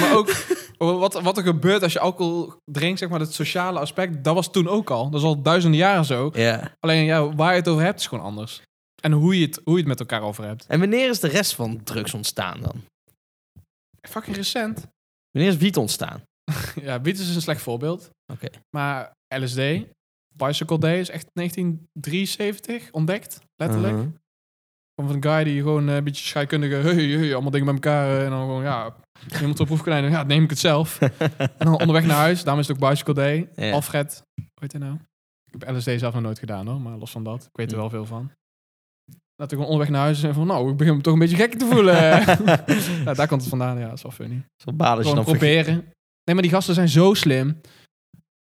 Maar ook wat, wat er gebeurt als je alcohol drinkt, zeg maar, dat sociale aspect, dat was toen ook al. Dat is al duizenden jaren zo.
Ja.
Alleen ja, waar je het over hebt is gewoon anders. En hoe je het, hoe je het met elkaar over hebt.
En wanneer is de rest van drugs ontstaan dan?
Fucking recent.
Wanneer is wiet ontstaan?
Ja, wiet is een slecht voorbeeld.
Oké.
Maar LSD, Bicycle Day, is echt 1973 ontdekt, letterlijk.
Uh-huh.
Van een guy die gewoon eh, een beetje scheikundige, hey, hey, allemaal dingen bij elkaar. eh, en dan gewoon, ja, iemand op proefkonijn, dan, ja, neem ik het zelf. en dan onderweg naar huis, daarom is het ook Bicycle Day.
Ja.
Alfred, hoe heet hij nou? Ik heb LSD zelf nog nooit gedaan hoor, maar los van dat, ik weet er wel veel van. Dat ik gewoon onderweg naar huis en van, nou, ik begin me toch een beetje gek te voelen. ja, daar komt het vandaan, ja, dat is wel funny.
Zo'n baal als je
Eh, Gewoon
dan vergeet-
proberen. Nee, maar die gasten zijn zo slim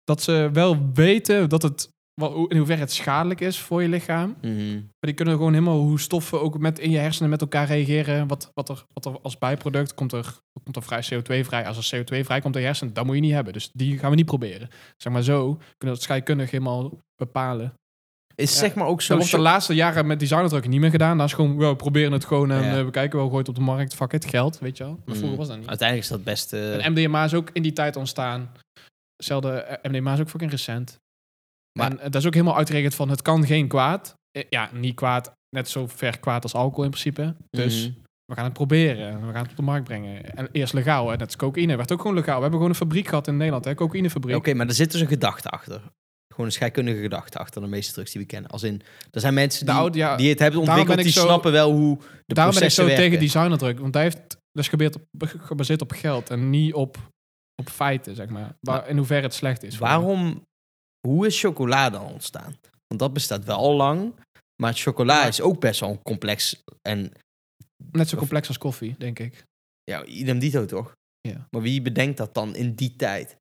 dat ze wel weten dat het wel, hoe- in hoeverre het schadelijk is voor je lichaam.
Mhm.
Maar die kunnen gewoon helemaal hoe stoffen ook met in je hersenen met elkaar reageren. Wat, wat, er, wat er als bijproduct komt er, komt er vrij CO2 vrij. Als er CO2 vrij komt in je hersenen, dat moet je niet hebben. Dus die gaan we niet proberen. Zeg maar zo kunnen we dat scheikundig helemaal bepalen.
Is
Ja.
zeg maar ook
Dat
zo...
wordt de laatste jaren met designerdrukken niet meer gedaan. Dat is gewoon, we proberen het gewoon en
Ja.
eh, we kijken wel, gooit op de markt, fuck it, geld, weet je wel. Maar vroeger
Mm.
was dat niet.
Uiteindelijk is dat best... eh,
En MDMA is ook in die tijd ontstaan. Hetzelfde, eh, MDMA is ook fucking recent.
Maar-
en eh, dat is ook helemaal uitgerekend van het kan geen kwaad. Eh, Ja, niet kwaad, net zo ver kwaad als alcohol in principe. Dus
Mhm.
we gaan het proberen. en We gaan het op de markt brengen. En eerst legaal, hè. net als cocaïne. werd ook gewoon legaal. We hebben gewoon een fabriek gehad in Nederland, hè. cocaïnefabriek.
Oké, maar er zit dus een gedachte achter. Gewoon een scheikundige gedachte achter de meeste drugs die we kennen. Als in, er zijn mensen die,
De oude- ja,
die het hebben
daarom ben
ontwikkeld,
ik
die
zo-
snappen wel hoe de
Daarom ben ik zo
processen werken.
tegen designerdruk. Want hij heeft dus gebaseerd op, gebaseerd op geld en niet op, op feiten, zeg maar. Waar, in hoeverre het slecht is. voor je.
Waarom, hoe is chocola dan ontstaan? Want dat bestaat wel al lang, maar chocola is ook best wel een complex en
Net zo complex als koffie, denk ik.
ja, idem dito toch?
Ja.
Maar wie bedenkt dat dan in die tijd?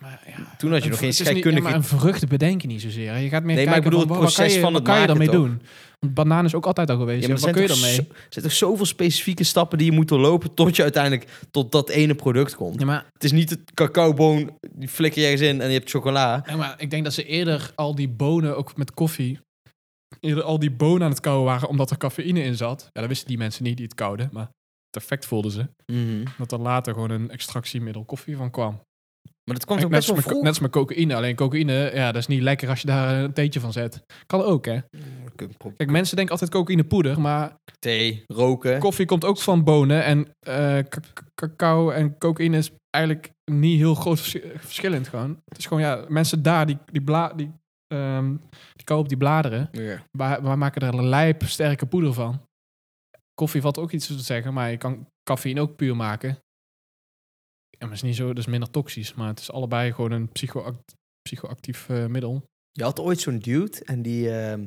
Maar ja,
Toen had je
een vrucht
nog geen
is niet- ja,
scheikundige...
maar een vrucht bedenken niet zozeer. hè. Je gaat meer
Nee, maar ik
kijken
bedoel
van, wa-
het
wat kan
proces
je-
van
wat
het
kan je daarmee
maken,
doen? Want banaan is ook altijd al geweest.
Ja,
hè.
maar
wat
er
kun je
zijn toch
daarmee?
zo- er zijn toch zoveel specifieke stappen die je moet doorlopen tot je uiteindelijk tot dat ene product komt.
Ja, maar,
Het is niet het cacaoboon, die flikker je ergens in en je hebt chocola.
ja, maar ik denk dat ze eerder al die bonen, ook met koffie, eerder al die bonen aan het kauwen waren omdat er cafeïne in zat. Ja, dat wisten die mensen niet die het kouden, maar het effect voelden ze. Dat er later gewoon een extractiemiddel koffie van kwam.
Maar dat komt
Net
ook best
als,
wel
met,
vroeg.
net als met cocaïne. Alleen cocaïne, ja, dat is niet lekker als je daar een theetje van zet. Kan ook, hè? Kijk, mensen denken altijd cocaïnepoeder, maar
Thee, roken.
koffie komt ook van bonen. En eh, k- k- cacao en cocaïne is eigenlijk niet heel groot vers- verschillend gewoon. Het is gewoon, ja, mensen daar, die, die, bla, die, ehm, die kauwen op die bladeren,
Ja.
waar, waar maken er lijp sterke poeder van. Koffie valt ook iets te zeggen, maar je kan cafeïne ook puur maken. En dat is niet zo, dat is minder toxisch, maar het is allebei gewoon een psychoact, psychoactief eh, middel.
Je had ooit zo'n dude en die, ehm,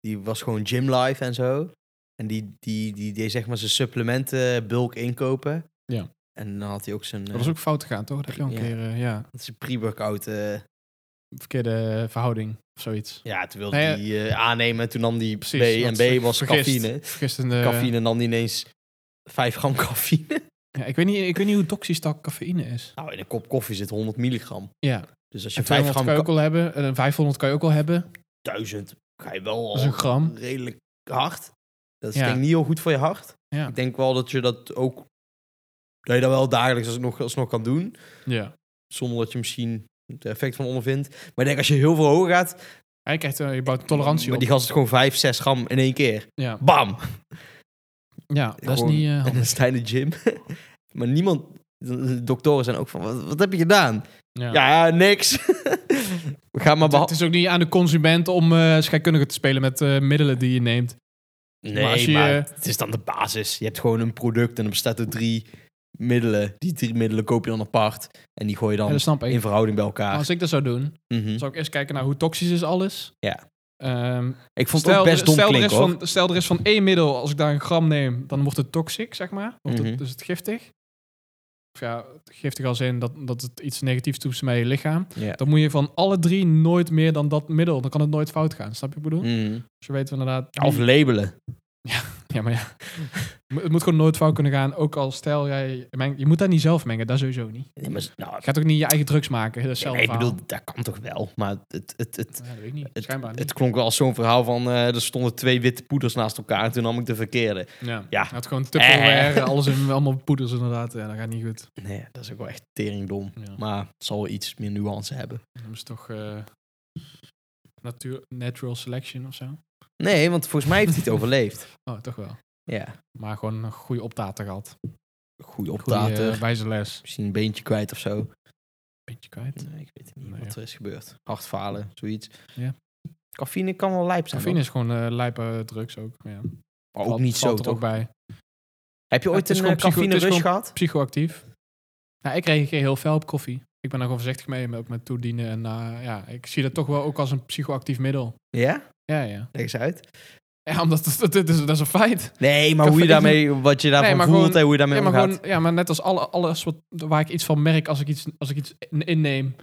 die was gewoon gymlife en zo. En die, die, die deed zeg maar zijn supplementen bulk inkopen.
Ja.
En dan had hij ook zijn,
Dat was ook fout gegaan, toch? Dat heb je al een
Ja.
keer eh, ja,
eh, zijn pre-workout. eh,
verkeerde verhouding of zoiets.
ja, toen wilde
Nee,
hij eh, aannemen en toen nam hij
Precies,
B. En
want
B
ver-
was
vergist.
cafeïne.
Gisteren. eh,
Cafeïne nam hij ineens 5 gram cafeïne.
Ja, ik, weet niet, ik weet niet hoe toxisch dat cafeïne is.
Nou, in een kop koffie zit 100 milligram.
Ja,
Dus als je
en
5
200
gram
kan je ook al hebben. En een 500 kan je ook al hebben.
1000 ga je wel
Dat is Dus een
al
gram.
redelijk hard. Dat is
Ja.
denk ik niet heel goed voor je hart.
Ja.
Ik denk wel dat je dat ook... Dat je dat wel dagelijks alsnog, alsnog kan doen.
Ja.
Zonder dat je misschien het effect van ondervindt. Maar ik denk als je heel veel hoger gaat...
Hij krijgt, eh, je bouwt tolerantie
Maar
op.
die gast het gewoon 5, 6 gram in één keer.
Ja,
Bam!
ja dat is
Gewoon-
niet... eh,
En
handig.
dan sta je in de gym. maar niemand... de Doktoren zijn ook van, wat, wat heb je gedaan?
ja.
Ja, niks. We gaan maar
Het- het
behandelen.
is ook niet aan de consument om eh scheikundige te spelen met eh, middelen die je neemt.
Nee,
Maar
maar,
als je-
het is dan de basis. Je hebt gewoon een product en er bestaat uit drie middelen. Die drie middelen koop je dan apart. En die gooi je
Ja,
dan
dat snap ik.
in verhouding bij
Maar
elkaar.
als ik dat zou doen,
Mhm.
zou ik eerst kijken naar hoe toxisch is alles.
Ja.
Ehm,
Ik vond het ook
er-
best dom
stel, er
klinken,
is
hoor.
van, stel er is van één middel, als ik daar een gram neem, dan wordt het toxic, zeg maar. Wordt
Mhm.
het, dus het giftig. Of ja, giftig als in dat, dat het iets negatiefs doet met je lichaam.
Ja.
Dan moet je van alle drie nooit meer dan dat middel. Dan kan het nooit fout gaan, snap je wat ik bedoel?
Mhm.
Dus je weet inderdaad...
Of labelen.
Ja, maar ja. Mo- het moet gewoon nooit fout kunnen gaan. Ook al stel jij... mengt- je moet dat niet zelf mengen, dat sowieso niet.
Nee, maar, nou,
Je gaat ook niet je eigen drugs maken, dat is zelf
nee, ik bedoel, dat kan toch wel. Maar het, het, het,
Ja, dat weet ik niet.
het,
Schijnbaar niet.
het klonk wel als zo'n verhaal van... eh, er stonden twee witte poeders naast elkaar en toen nam ik de verkeerde.
ja.
ja. Eh.
Het gewoon Tupperware, alles in allemaal poeders inderdaad. Ja, dat gaat niet goed.
Nee, dat is ook wel echt teringdom.
Ja.
Maar het zal wel iets meer nuance hebben.
Dat is toch eh, natuur, natural selection of zo?
Nee, want volgens mij heeft hij het overleefd.
Oh, toch wel.
Ja,
Maar gewoon een goede optater gehad.
goede
Goede
optater.
eh, wijze les.
Misschien een beentje kwijt of zo.
Beetje kwijt.
Nee, ik weet niet
Nee,
wat
ja.
er is gebeurd. Hartfalen, zoiets.
Ja.
Cafeïne kan wel lijp zijn.
Cafeïne is gewoon eh lijpe drugs ook. Ja.
hoor. Maar ook
Valt-
niet zo,
valt er
toch?
ook bij.
Heb je
Ja,
ooit
het is
een eh,
gewoon psycho-
cafeïne
het is
rush
gewoon-
gehad?
Psychoactief. Nou, ik reageer heel fel op koffie. Ik ben daar gewoon voorzichtig mee, maar ook met toedienen. En eh, ja, ik zie dat toch wel ook als een psychoactief middel.
Ja?
Ja, ja.
Leg eens uit.
Ja, omdat het, dat, is, dat is een feit.
Nee, maar hoe je
Cafeïne-
daarmee, wat je daarvan
Nee, maar
voelt
gewoon-
en hoe je daarmee
Ja, maar,
omgaat.
gewoon, ja, maar net als alle, alles wat, waar ik iets van merk als ik iets, als ik iets in- inneem,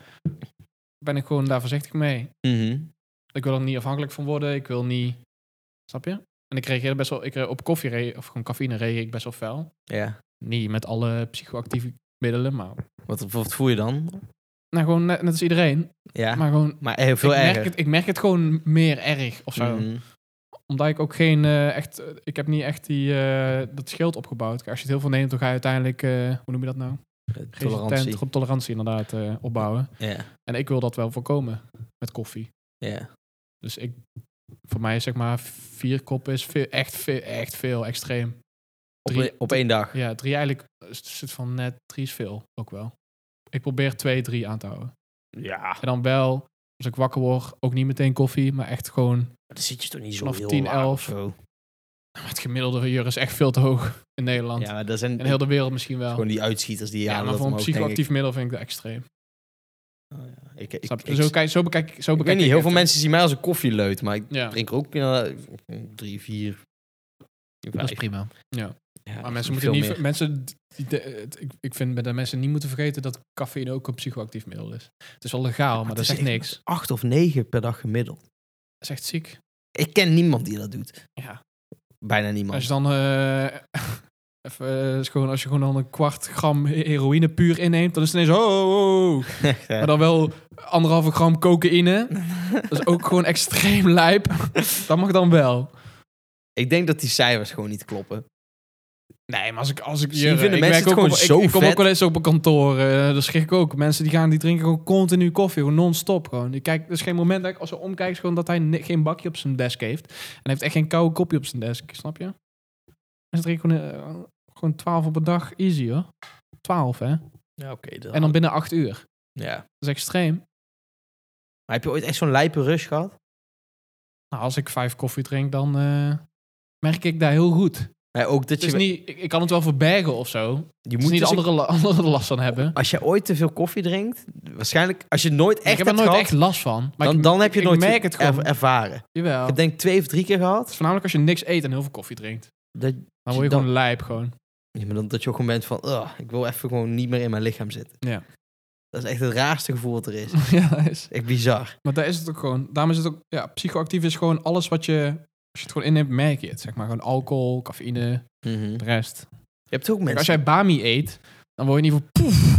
ben ik gewoon daar voorzichtig mee.
Mhm.
Ik wil er niet afhankelijk van worden. Ik wil niet. Snap je? En ik reageerde best wel. Ik, re- op koffie re- of gewoon cafeïne reageer ik best wel fel.
Ja.
Niet met alle psychoactieve middelen, maar.
Wat, wat voel je dan?
Nou, gewoon net, net als iedereen.
Ja. Maar,
Maar gewoon.
eh, veel
ik, merk
erger.
het, ik merk het gewoon meer erg of zo.
Mhm.
Omdat ik ook geen. eh, echt, eh, ik heb niet echt die, eh, dat schild opgebouwd. Als je het heel veel neemt, dan ga je uiteindelijk. eh, hoe noem je dat nou?
Tolerantie.
Resistent, tolerantie inderdaad eh, opbouwen.
Ja.
En ik wil dat wel voorkomen met koffie.
Ja.
Dus ik, voor mij is zeg maar vier koppen is veel, echt, veel, echt veel, extreem.
Op,
Drie-
een- op één dag.
Ja, drie eigenlijk is het soort van net, drie is veel ook wel. Ik probeer twee, drie aan te houden.
Ja.
En dan wel, als ik wakker word, ook niet meteen koffie, maar echt gewoon...
Dan zit je toch niet zo
Vanaf
heel
10,
laag of
11.
zo.
Het gemiddelde uur is echt veel te hoog in Nederland.
Ja, maar dat zijn
In heel de wereld misschien wel.
gewoon die uitschieters die
ja,
halen
maar
dat
voor een
omhoog, denk ik.
psychoactief middel vind ik dat extreem.
Oh, ja. Ik, ik,
Snap je?
ik-
zo, kijk, zo bekijk ik zo
ik weet
bekijk
niet, heel
het.
veel mensen zien mij als een koffieleut, maar ik
Ja,
drink er ook ja, drie, vier,
dat is
vijf.
prima.
Ja,
Maar mensen moeten
veel
niet...
meer.
Mensen, die- de- het- ik, ik vind dat mensen niet moeten vergeten dat cafeïne ook een psychoactief middel is. Het is wel legaal, maar,
het
dat
is
zegt
echt-
niks. Dat
Acht of negen per dag gemiddeld.
is echt ziek.
Ik ken niemand die dat doet.
Ja.
Bijna niemand.
Als je dan... eh, even, eh, is gewoon, als je gewoon dan een kwart gram he- heroïne puur inneemt, dan is het ineens... Oh, oh, oh. Maar dan wel anderhalve gram cocaïne. Dat is ook gewoon extreem lijp. Dat mag dan wel.
ik denk dat die cijfers gewoon niet kloppen.
Nee, maar als ik... Als ik
Misschien
hier- eh,
vinden
ik
mensen
werk
het
ook
gewoon
op- ik-
zo
Ik, kom ook
vet.
wel eens op een kantoor. eh daar schrik ik ook. Mensen die gaan, die drinken gewoon continu koffie. Gewoon non-stop gewoon. Die kijkt, er is geen moment dat ik als ze omkijk, is gewoon dat hij ni- geen bakje op zijn desk heeft. En hij heeft echt geen koude kopje op zijn desk. Snap je? Mensen drinken gewoon, eh, gewoon 12 op een dag. Easy hoor. 12 hè.
Ja, oké.
En dan binnen 8 uur. Dat
ja.
is extreem.
Maar heb je ooit echt zo'n lijpe rush gehad?
Nou, als ik vijf koffie drink, dan eh, merk ik dat heel goed.
Nee, ook dat
Het is
je...
niet, ik, ik kan het wel verbergen of zo. Je
je
moet niet
dus
andere, la- andere last van hebben.
Als je ooit te veel koffie drinkt, waarschijnlijk als je het nooit echt
ik heb er
hebt
nooit
gehad,
echt last van. Maar
dan,
ik,
dan heb je
ik
nooit
merk het gewoon. Oh.
er- ervaren. Ik
jawel.
heb denk ik twee of drie keer
Het
gehad.
is voornamelijk als je niks eet en heel veel koffie drinkt.
Dat,
Dan word je
Dan-
gewoon lijp gewoon.
ja, maar dan, dat je ook gewoon bent van, "Ugh, ik wil even gewoon niet meer in mijn lichaam zitten.
Ja.
Dat is echt het raarste gevoel dat er is.
ja, dat is.
Echt bizar.
Maar daar is het ook gewoon. Daarom is het ook. Ja, psychoactief is gewoon alles wat je. Als je het gewoon inneemt, merk je het. Zeg maar gewoon alcohol, cafeïne, de rest.
Mhm. Je hebt ook
Kijk,
mensen...
als jij Bami eet, dan word je niet van poef.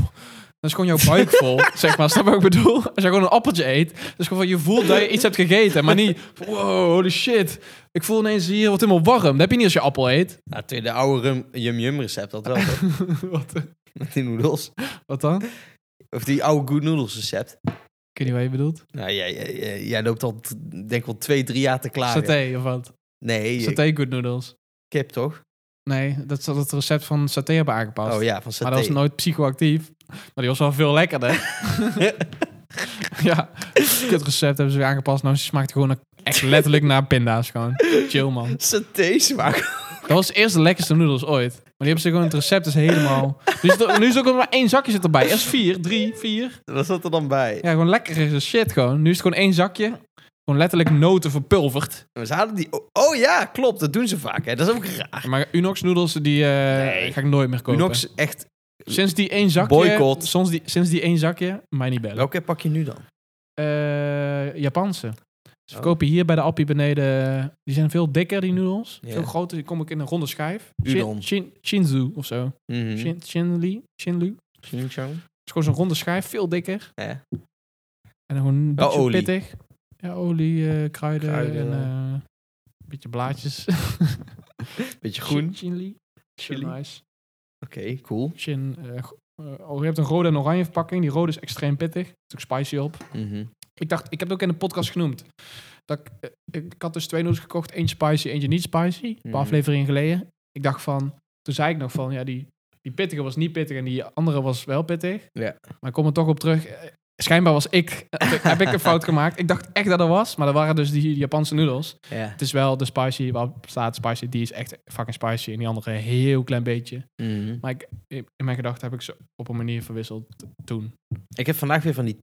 Dan is gewoon jouw buik vol. zeg maar, snap je wat ik bedoel? Als jij gewoon een appeltje eet, dan is gewoon van je voelt dat je iets hebt gegeten. Maar niet, van, wow, holy shit. Ik voel ineens hier wat helemaal warm. Dat heb je niet als je appel eet.
Nou, toen je de oude rum, Yum Yum recept had wel, toch?
wat,
Met die noedels.
wat dan? Ik
Of die oude Good Noodles recept.
weet niet wat je bedoelt.
Nou, jij, jij, jij- jij loopt al, t- denk ik wel, twee, drie jaar te klaar.
Saté of wat?
Nee, je-
Saté good noodles.
kip toch?
Nee, dat ze dat het recept van saté hebben aangepast.
Oh ja, van saté.
Maar dat was nooit psychoactief. Maar die was wel veel lekkerder. ja, het recept hebben ze weer aangepast. Nou, ze smaakt gewoon naar- echt letterlijk naar pinda's gewoon. Chill, man.
Saté smaak.
Dat was eerst de lekkerste noedels ooit. Maar die hebben ze gewoon, het recept is helemaal... Nu is, het, nu is het ook nog maar één zakje zit erbij. Eerst vier, drie, vier.
Wat zat er dan bij?
Ja, gewoon lekker is als shit gewoon. Nu is het gewoon één zakje. Gewoon letterlijk noten verpulverd.
We zaten die... Oh, oh ja, klopt. Dat doen ze vaak. Hè. Dat is ook raar.
Maar Unox noedels, die eh,
Nee.
ga ik nooit meer kopen.
Unox echt...
Sinds die één zakje...
Boycott.
Sinds die, sinds die één zakje, mij niet bellen.
Welke pak je nu dan?
eh Japanse. Ze
Oh.
verkopen hier bij de Appie beneden. Die zijn veel dikker, die noedels.
Ja.
Veel groter. Die kom ik in een ronde schijf.
Udon. Mhm.
Shin, Shin- Shinzu of zo. Shin, Shinli. Shinlu. Het is gewoon zo'n ronde schijf. Veel dikker.
Ja.
En dan gewoon een
Wel
beetje
olie.
pittig. Ja, olie, eh, kruiden,
Kruiden,
en
ja.
eh, een beetje blaadjes.
Beetje groen.
Shin- Shinli.
Chili.
Chili.
Oké,
Nice.
cool.
Shin, eh, go- eh, oh, je hebt een rode en oranje verpakking. Die rode is extreem pittig. Er zit ook spicy op. Ik dacht, ik heb het ook in de podcast genoemd. Dat ik, eh, ik, ik had dus twee noedels gekocht. Eentje spicy, eentje niet spicy. Een paar
Mhm.
afleveringen geleden. Ik dacht van, toen zei ik nog van, ja, die, die pittige was niet pittig en die andere was wel pittig.
Ja.
Maar ik kom er toch op terug. Eh, Schijnbaar was ik, eh, heb ik een fout gemaakt. Ik dacht echt dat er was, maar dat waren dus die, die Japanse noedels.
Ja.
Het is wel de spicy, waarop staat spicy, die is echt fucking spicy. En die andere een heel klein beetje. Maar ik, in mijn gedachten heb ik ze op een manier verwisseld t- toen.
Ik heb vandaag weer van die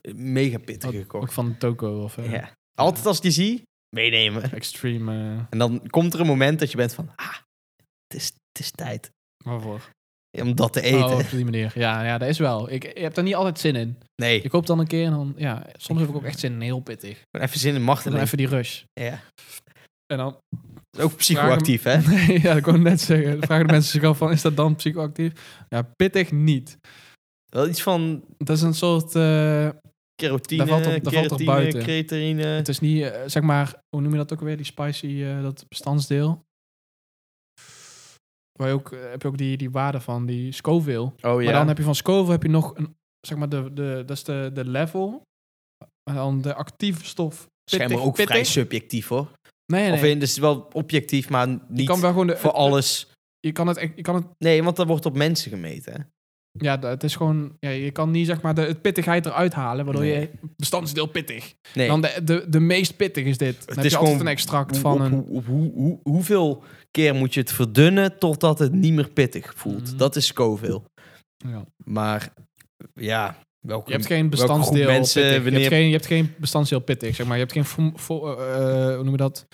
eh, mega pittige
Ook
gekocht.
van de toko of eh,
Ja. Altijd als ik die zie, meenemen.
extreme, eh,
En dan komt er een moment dat je bent van... Ah, het is, het is tijd
waarvoor.
om dat te eten.
Oh, op die manier. Ja, ja, dat is wel. Ik, ik heb daar niet altijd zin in.
Nee,
Ik koop dan een keer en dan... Ja, soms heb ik ook echt zin in heel pittig.
gewoon even zin in
Dan
machten.
even die rush.
Ja.
En dan...
Ook psychoactief, hè?
Nee, ja, dat kon ik net zeggen. Dan vragen de mensen zich af van, is dat dan psychoactief? Ja, pittig niet.
Wel iets van
Dat is een soort... eh,
kerotine,
Daar valt op- daar valt op
keratine,
buiten.
creatinine.
het is niet, eh, zeg maar... Hoe noem je dat ook alweer? Die spicy, eh, dat bestandsdeel. Waar je ook, eh, heb je ook die, die waarde van, die Scoville.
Oh ja.
Maar dan heb je van Scoville heb je nog een, zeg maar, de, de, dat is de, de level Maar dan de actieve stof. pittig,
Schijnbaar ook
pittig.
vrij subjectief hoor.
Nee, nee.
Of in, dus wel objectief, maar
je
niet
kan wel gewoon de,
voor alles.
Je kan het, echt- je kan het,
Nee, want dat wordt op mensen gemeten. hè.
ja, dat- het is gewoon, ja, je kan niet zeg maar de het pittigheid eruit halen, waardoor
Nee.
je bestandsdeel pittig.
Nee.
Dan de, de, de meest pittig is dit. Dan
Het
heb
is
je altijd
gewoon
een extract
Hoe-
van
op-
een.
hoe- op- hoe- hoe- hoeveel keer moet je het verdunnen totdat het niet meer pittig voelt?
Mhm.
Dat is Scoville.
Ja.
Maar ja, welke...
Je hebt geen
groep
bestandsdeel
mensen,
pittig. Je,
wanneer-
hebt geen, je hebt geen bestandsdeel pittig, zeg maar. Je hebt geen, vo- vo- eh, eh, hoe noem je dat,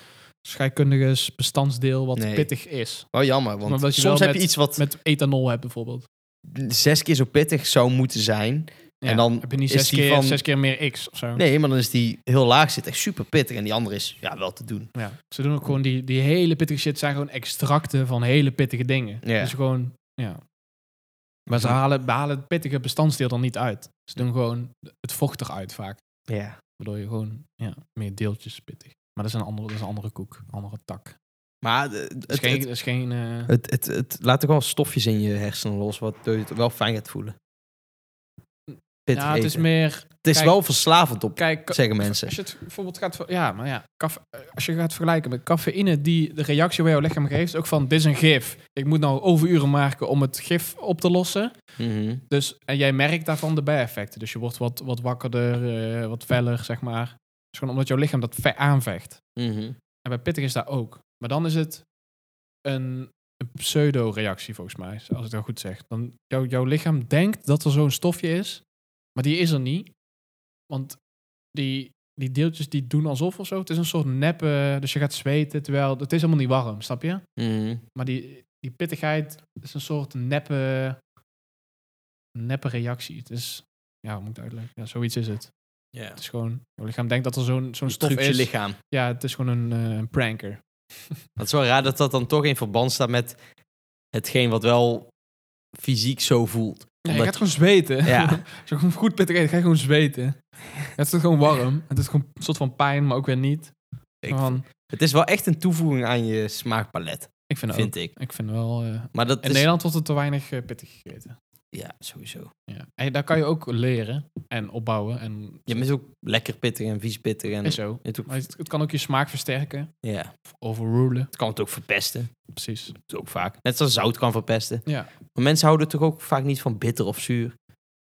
scheikundiges bestandsdeel wat
Nee.
pittig is.
Wel jammer, want
Maar wat je
soms
wel
heb je
met-
iets wat
Met ethanol hebt bijvoorbeeld.
zes keer zo pittig zou moeten zijn.
Ja,
En dan
heb je niet
is
zes
die
keer,
van-
zes keer meer x of zo.
Nee, maar dan is die heel laag zit echt super pittig. En die andere is ja, wel te doen.
Ja. Ze doen ook gewoon die, die hele pittige shit zijn gewoon extracten van hele pittige dingen.
Ja.
Dus gewoon, ja. Maar ze halen, behalen het pittige bestandsdeel dan niet uit. Ze doen gewoon het vocht eruit vaak.
Ja.
Waardoor je gewoon ja, meer deeltjes pittig. Maar dat is een andere, dat is een andere koek, een andere tak. Dat
Maar eh,
is
het,
Dus geen...
het,
dat is geen eh,
het, het, het laat ook wel stofjes in je hersenen los, wat je het wel fijn gaat voelen. Pittig
ja, het is
eten.
meer...
het is
kijk-
wel verslavend op,
Kijk, ka-
zeggen mensen.
als je het bijvoorbeeld gaat... ver- Ja, maar ja. caffe- eh, als je gaat vergelijken met cafeïne die de reactie waar jouw lichaam geeft... ook van, dit is een gif. Ik moet nou overuren maken om het gif op te lossen.
Mhm.
Dus, en jij merkt daarvan de bijeffecten. Dus je wordt wat, wat wakkerder, eh, wat feller, zeg maar. Het is gewoon omdat jouw lichaam dat ve- aanvecht.
Mhm.
En bij pittig is dat ook. Maar dan is het een, een pseudo-reactie, volgens mij, als ik dat goed zeg. Dan, jouw jouw lichaam denkt dat er zo'n stofje is, maar die is er niet. Want die, die deeltjes die doen alsof of zo. Het is een soort neppe, dus je gaat zweten, terwijl het is helemaal niet warm, snap je?
Mhm.
Maar die, die pittigheid is een soort neppe, neppe reactie. Het is, ja, hoe moet ik het uitleggen? Ja, zoiets is het. Het is gewoon, je lichaam denkt dat er zo'n zo'n
Een
stof
trucje
is.
lichaam.
Ja, het is gewoon een eh, een pranker.
Het is wel raar dat dat dan toch in verband staat met hetgeen wat wel fysiek zo voelt.
Ja, je
Omdat-
gaat gewoon zweten.
Ja.
Zo gewoon goed pittig eten, ga je gewoon zweten. Het is gewoon warm. Het is gewoon een soort van pijn, maar ook weer niet.
Ik,
Van,
het is wel echt een toevoeging aan je smaakpalet,
ik vind het
vind ik.
ook. Ik vind wel... eh,
Maar dat
Nou. in
is...
Nederland wordt er te weinig eh, pittig gegeten.
Ja, sowieso.
Ja. En daar kan je ook leren en opbouwen. En
Je bent ook lekker pittig en vies pittig. En...
is zo.
Het, ook-
Maar het, het kan ook je smaak versterken.
ja.
Of overrulen.
het kan het ook verpesten.
Precies.
Dat is ook vaak. Net zoals zout kan verpesten.
Ja.
Maar mensen houden toch ook vaak niet van bitter of zuur.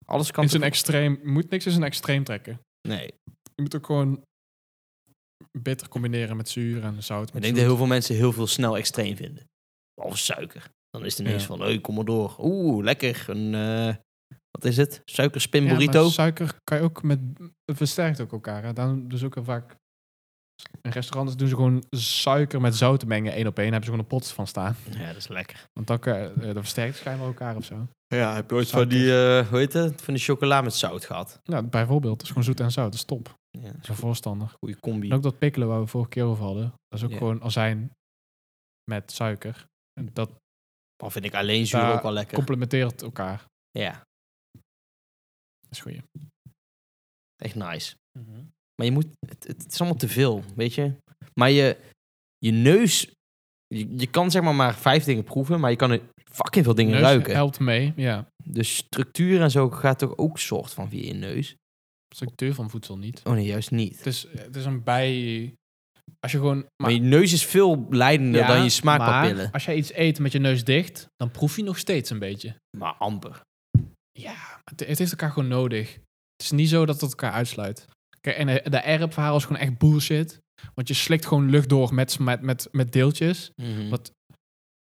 Alles kan
is een
toch-
extreem, je moet niks is een extreem trekken.
Nee.
Je moet ook gewoon bitter combineren met zuur en zout.
Ik
met
denk dat
zoet.
heel veel mensen heel veel snel extreem vinden. Behalve suiker. Dan is het ineens
Ja.
van, hey, kom maar door. Oeh, lekker. Een, eh, wat is het? Suikerspin
Ja, maar
burrito?
suiker kan je ook met het versterkt ook elkaar. Hè? Daarom dus ook heel vaak in restaurants doen ze gewoon suiker met zout mengen één op één. Daar hebben ze gewoon een pot van staan.
ja, dat is lekker.
Want dat, kan- eh, dat versterkt schijnbaar elkaar of zo.
Ja, heb je
ooit
van
van
die, eh,
die,
hoe heet het? Van die chocola met zout gehad.
Nou, bijvoorbeeld, het is gewoon zoet en zout. Dat is top. Dat
Ja,
is een voorstander.
goede combi.
En ook dat pikkelen waar we vorige keer over hadden. Dat is ook
Ja.
gewoon azijn met suiker. En dat
Dan vind ik alleen zuur
Daar
ook wel lekker.
complementeert elkaar. Dat
Ja,
is goed.
echt nice. Maar je moet, het, het is allemaal te veel, weet je. Maar je, je neus, je, je kan zeg maar maar vijf dingen proeven, maar je kan er fucking veel dingen
Neus
ruiken.
helpt mee, ja.
De structuur en zo gaat toch ook soort van via je neus?
Structuur van voedsel niet.
Oh nee, juist niet.
Het is, het is een bij... Als je gewoon... Maar,
Maar, je neus is veel leidender
Ja,
dan je smaakpapillen.
maar
Maar,
als jij iets eet met je neus dicht, dan proef je nog steeds een beetje.
amper.
Ja, maar het, het heeft elkaar gewoon nodig. Het is niet zo dat het elkaar uitsluit. Kijk, en de, de RP-verhaal is gewoon echt bullshit. Want je slikt gewoon lucht door met, met, met, met deeltjes.
Wat-
Wat,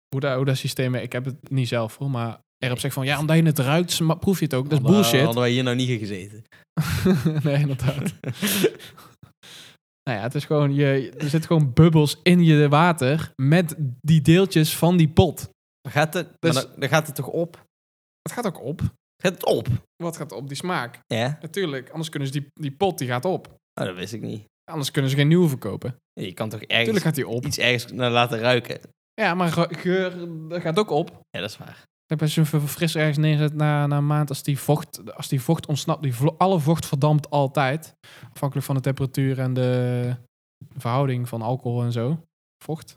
hoe, dat, hoe dat systeem... Ik heb het niet zelf hoor, maar... Erop zegt van, ja, omdat je het ruikt, sma- proef je het ook. Dat is
Hadden-
bullshit.
Hadden wij hier nou niet gezeten.
nee, inderdaad. nou ja, het is gewoon, je, er zitten gewoon bubbels in je water met die deeltjes van die pot.
Dan gaat het,
Dus-
maar dan, dan gaat het toch op?
Het gaat ook op.
Gaat het op?
Wat gaat op? Die smaak.
Ja?
Natuurlijk, anders kunnen ze die, die pot, die gaat op.
Oh, dat wist ik niet.
Anders kunnen ze geen nieuwe verkopen.
Je kan toch ergens
Natuurlijk gaat die op.
iets ergens naar laten ruiken?
Ja, maar ge- geur dat gaat ook op.
Ja, dat is waar.
Kijk, Als je een verfrisser ergens neerzet na, na een maand, als die vocht, als die vocht ontsnapt, die vlo- alle vocht verdampt altijd. Afhankelijk van de temperatuur en de verhouding van alcohol en zo. Vocht.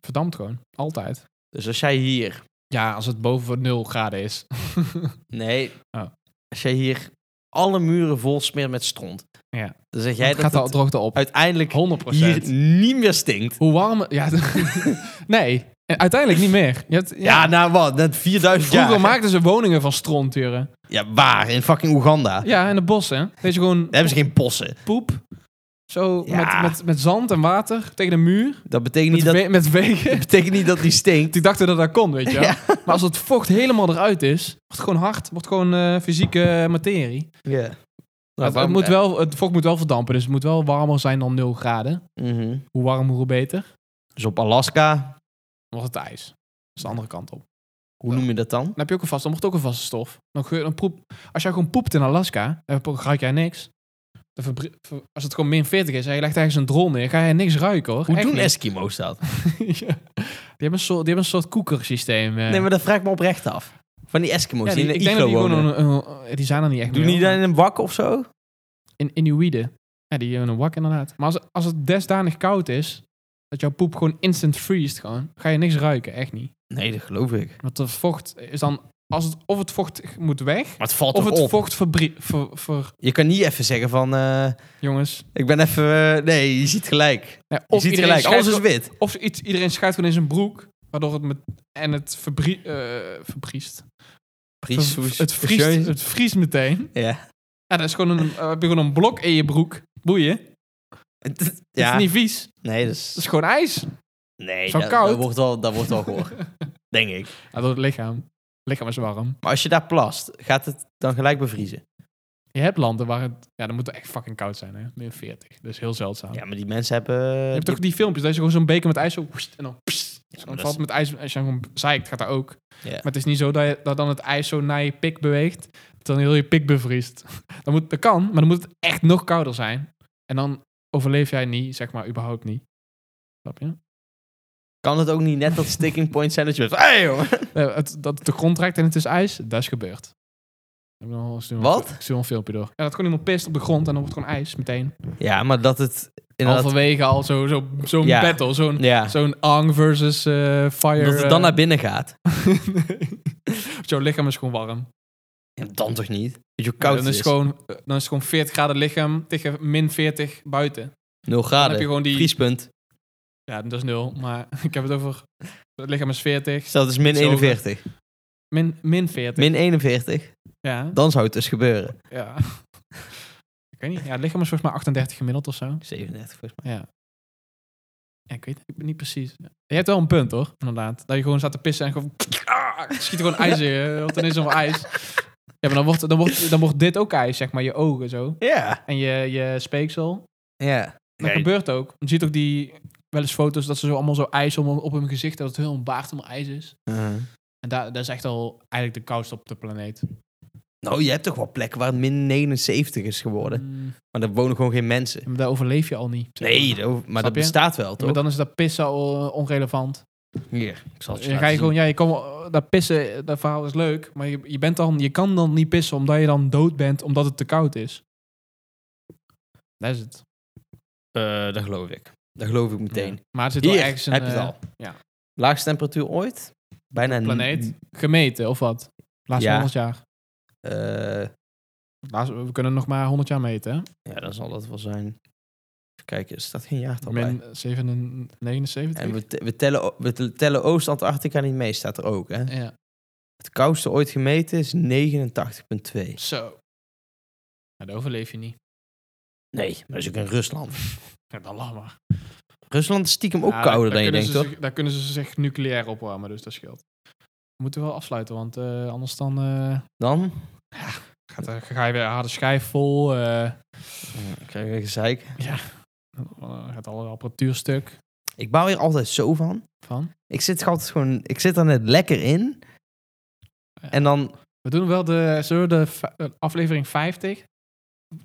Verdampt gewoon. Altijd.
Dus als jij hier...
Ja, als het boven 0 graden is.
Nee.
Oh.
Als jij hier alle muren vol smeren met stront.
Ja.
Dan zeg jij
het
dat
gaat de
het
droogte op.
uiteindelijk
100
hier niet meer stinkt.
Hoe warm... Ja, nee, En uiteindelijk niet meer. Je hebt, ja,
Ja, nou wat, net 4000
vroeger
jaar.
maakten ze woningen van stronturen.
Ja, waar? In fucking Oeganda.
Ja, in de bossen. Weet je, gewoon
Daar hebben ze geen bossen.
poep. Zo
Ja.
met, met, met zand en water tegen de muur.
Dat betekent
Met,
niet dat,
ve- met wegen.
betekent niet dat die stinkt.
Die dachten dat dat kon, weet je wel.
Ja.
Maar als het vocht helemaal eruit is, wordt het gewoon hard. Wordt gewoon eh, fysieke materie.
Ja. Nou,
het, het
waarom-
moet wel, het vocht moet wel verdampen, dus het moet wel warmer zijn dan 0 graden.
Mhm.
Hoe warm, hoe beter.
Dus op Alaska,
Dan was het ijs. Dat is de andere kant op.
hoe noem je dat dan?
Dan heb je ook een vast, dan mocht ook een vaste stof. Dan geur, dan proep, als jij gewoon poept in Alaska, dan ruik jij niks. Dan verbri- ver- als het gewoon min 40 is en je legt ergens een drol neer, ga je niks ruiken hoor.
Hoe
Echt
doen
niet.
Eskimo's dat?
Ja. Die hebben een soort, die hebben een soort koekersysteem. eh.
Nee, maar dat vraag ik me oprecht af. Van die Eskimo's
ja,
die
die,
in
ik
een
denk dat
iglo
die
wonen.
gewoon een, een- die zijn er niet echt
Doen
meer,
die
hoor.
dan in een wak of zo?
In Inuïden. Ja, die hebben een wak inderdaad. Maar als, als het desdanig koud is, dat jouw poep gewoon instant vriest, gewoon, ga je niks ruiken, echt niet.
Nee, dat geloof ik.
Want het vocht is dan, als het, of het vocht moet weg,
Maar het valt
of
toch
het
op?
vocht verbrie, ver, ver-
Je kan niet even zeggen van... eh,
jongens.
ik ben even... eh, nee, je ziet gelijk.
Ja,
Je
of
ziet
iedereen
gelijk. Alles is
scheidt-
wit.
Of iets, iedereen scheidt gewoon in zijn broek, waardoor het met, en het verbrie, eh, verbriest.
Pries,
Ver-
hoes,
het, vriest,
hoesjeus.
het vriest meteen.
Ja.
Ja, dat is gewoon een, eh, heb je gewoon een blok in je broek. Boeien. Dat
ja.
is niet vies.
Nee, dat
Dat is
is...
gewoon ijs.
Nee,
zo
dat,
koud.
dat wordt wel, dat wordt wel goor. denk ik.
Ja, door het lichaam. Het lichaam is warm.
Maar als je daar plast, gaat het dan gelijk bevriezen?
Je hebt landen waar het... Ja, dan moet het echt fucking koud zijn, hè. Meer 40. Dat is heel zeldzaam.
Ja, eh, maar die mensen hebben...
je hebt toch die filmpjes, dat je gewoon zo'n beker met ijs zo... woest, en dan, pssst,
maar
dan
dat
valt
is-
met ijs... Als je hem gewoon zeikt, gaat dat ook.
Ja.
Maar het is niet zo dat, je, dat dan het ijs zo naar je pik beweegt. Dat dan heel je pik bevriest. Dat, moet, dat kan, maar dan moet het echt nog kouder zijn. En dan overleef jij niet, zeg maar, überhaupt niet. Snap je?
Kan het ook niet net dat sticking point zijn dat je... bent, Hey, joh.
Eh, het, dat het de grond raakt en het is ijs, dat is gebeurd. Ik heb nog wel- ik stuur nog-
Wat?
Ik stuur nog een filmpje door. Ja, dat gewoon iemand pist op de grond en dan wordt het gewoon ijs meteen.
Ja, maar dat het... Inderdaad,
Halverwege al zo'n zo, zo'n
Ja.
battle, zo'n
ja,
zo'n Ang versus eh, Fire.
dat het
eh,
dan naar binnen gaat.
Want jouw lichaam is gewoon warm.
Ja, dan toch niet? Weet je hoe
Ja,
koud
dan,
het
is het gewoon, eh, dan is het gewoon 40 graden lichaam tegen min 40 buiten.
0
Dan
graden.
heb je gewoon die...
Vriespunt.
Ja, dat is nul, maar ik heb het over... Het lichaam is 40,
Stel, het is min
Iets hoger.
41.
min, min 40.
Min 41.
ja,
Dan zou het dus gebeuren.
ja. ik weet niet. Ja, het lichaam is volgens mij 38 gemiddeld of zo.
37 volgens mij.
Ja. Ja, ik weet het niet precies. Je hebt wel een punt, hoor. Inderdaad. Dat je gewoon staat te pissen en gewoon... Ah, schiet er gewoon ijs in. je, Want dan is er wel ijs. Ja, maar dan wordt, dan, wordt, dan wordt dit ook ijs, zeg maar. Je ogen zo.
Ja.
En je, je speeksel.
Ja.
Dat gebeurt ook. Je ziet ook die... Wel eens foto's dat ze zo allemaal zo ijs om, op hun gezicht... Dat het heel een baard om ijs is.
Uh-huh.
En daar, dat is echt al eigenlijk de koudste op de planeet.
Nou, je hebt toch wel plekken waar het min 79 is geworden.
Mm,
Maar daar wonen gewoon geen mensen.
maar daar overleef je al niet. zeg maar.
Nee, dat hoeft- maar
Snap
dat
je?
bestaat wel, toch?
Maar dan is dat pissen al eh, onrelevant.
Hier, ik zal het
Dan ga je gewoon, ja, je kan wel- eh, dat pissen, dat verhaal is leuk, maar je, je, bent dan, je kan dan niet pissen omdat je dan dood bent, omdat het te koud is. Dat is het.
gewoon... Eh, dat geloof ik. Dat geloof ik meteen.
Ja. Maar het zit wel
Hier,
ergens een
heb je het
eh,
al.
ja.
Laagste temperatuur ooit? Bijna
planeet gemeten, of wat? Laatste
Ja.
100 jaar.
Eh,
Laatste- we kunnen nog maar 100 jaar meten, hè?
ja, dan zal dat wel zijn. Even kijken, er staat geen jaartal bij.
Min 79.
En we, te- we tellen, o- we te- tellen Oost-Antarctica niet mee, staat er ook, hè?
Ja.
Het koudste ooit gemeten is 89,2.
Zo. Ja, dat overleef je niet.
Nee, maar dat is ook in Rusland.
Ja, dan lach maar.
Rusland is stiekem ook
Ja, daar-
kouder
daar
dan je
kunnen
denkt,
ze
toch?
zich- Daar kunnen ze zich nucleair opwarmen, dus dat scheelt. We moeten wel afsluiten, want eh, anders dan eh,
Dan?
gaat, er- ga je weer een harde schijf vol. eh,
Ja, Ik krijg weer gezeik.
dan gaat alle apparatuur stuk
Ik bouw hier altijd zo van.
van.
Ik zit er altijd gewoon... Ik zit er net lekker in.
Ja.
En dan...
We doen wel de, zullen we de v- eh, aflevering 50,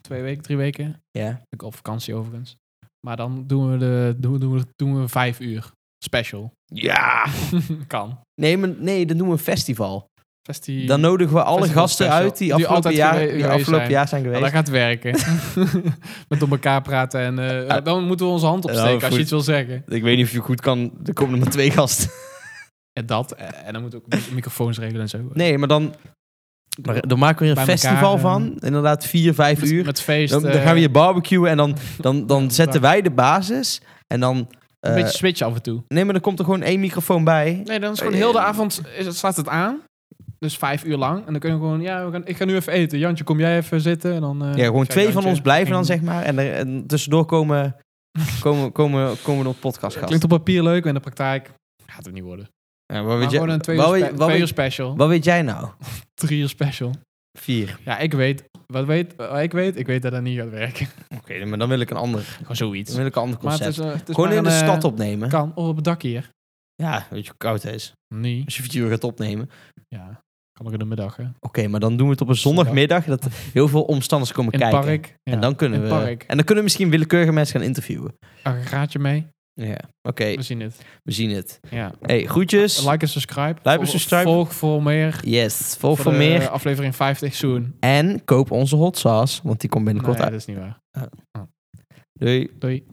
twee weken, drie weken,
Ja.
ik op vakantie overigens. Maar dan doen we, de, doen, we- doen we, doen we vijf uur special.
Ja!
kan.
Nee, maar, nee dan doen we een festival.
Festie,
Dan nodigen we alle
festival
gasten
special.
uit die
Die
afgelopen,
altijd
jaar,
gewe-
die
geweest
afgelopen
zijn.
jaar zijn geweest.
Ja, dat gaat werken. Met door elkaar praten en eh,
Ja.
dan moeten we onze hand opsteken als
goed.
je iets wil zeggen.
Ik weet niet of je goed kan... Er komen er maar twee gasten.
En dat. eh, En dan moeten we ook microfoons regelen en zo.
Nee, maar dan... Maar dan maken we er een
Bij
festival
elkaar, eh,
van. Inderdaad, vier, vijf
met,
uur.
met feest.
Dan, dan
eh,
gaan we hier barbecuen en dan, dan, dan zetten wij de basis. En dan...
een
eh,
beetje switchen af en toe.
nee, maar dan komt er gewoon één microfoon bij.
Nee, dan is gewoon heel de avond is het, staat het aan. Dus vijf uur lang. En dan kunnen we gewoon, ja, we gaan, ik ga nu even eten. Jantje, kom jij even zitten? En dan, eh,
Ja, gewoon
ga
twee van
Jantje-
ons blijven dan,
en-
zeg maar. En, er, en tussendoor komen, komen, komen, komen nog podcastgasten.
Klinkt op papier leuk, maar in de praktijk gaat het niet worden.
Ja, wat
Maar
weet, jij,
gewoon een twee uur,
wat
spe-
weet- wat
twee uur
weet-
special.
wat weet jij nou?
Drie uur special.
Vier.
Ja, ik weet, wat weet, wat ik weet, ik weet dat dat niet gaat werken.
Oké, maar dan wil ik een ander,
Gewoon zoiets.
dan wil ik een ander
Maar het
concept.
is, eh, het is
gewoon
maar
in de
een, eh,
stad opnemen.
Kan, oh, op het dak hier.
Ja, weet je hoe koud het is.
Nee.
Als je vier uur gaat opnemen. Oké,
Ja, kan ook in de middag, hè.
maar dan doen we het op een zondagmiddag. Dat heel veel omstanders komen
In het
kijken.
park. Ja,
En dan kunnen
in
we.
het park.
En dan kunnen we misschien willekeurige mensen gaan interviewen.
Een raadje mee.
Ja. Oké,
We zien het.
we zien het.
Ja.
Hey, groetjes.
Like en subscribe.
Dus- en
Volg-
subscribe.
Volg voor meer.
Yes, volg voor
de
meer.
Aflevering 50 soon.
En koop onze hot sauce, want die komt binnenkort
Nee, dat
uit.
is niet waar.
Doei.
Doei.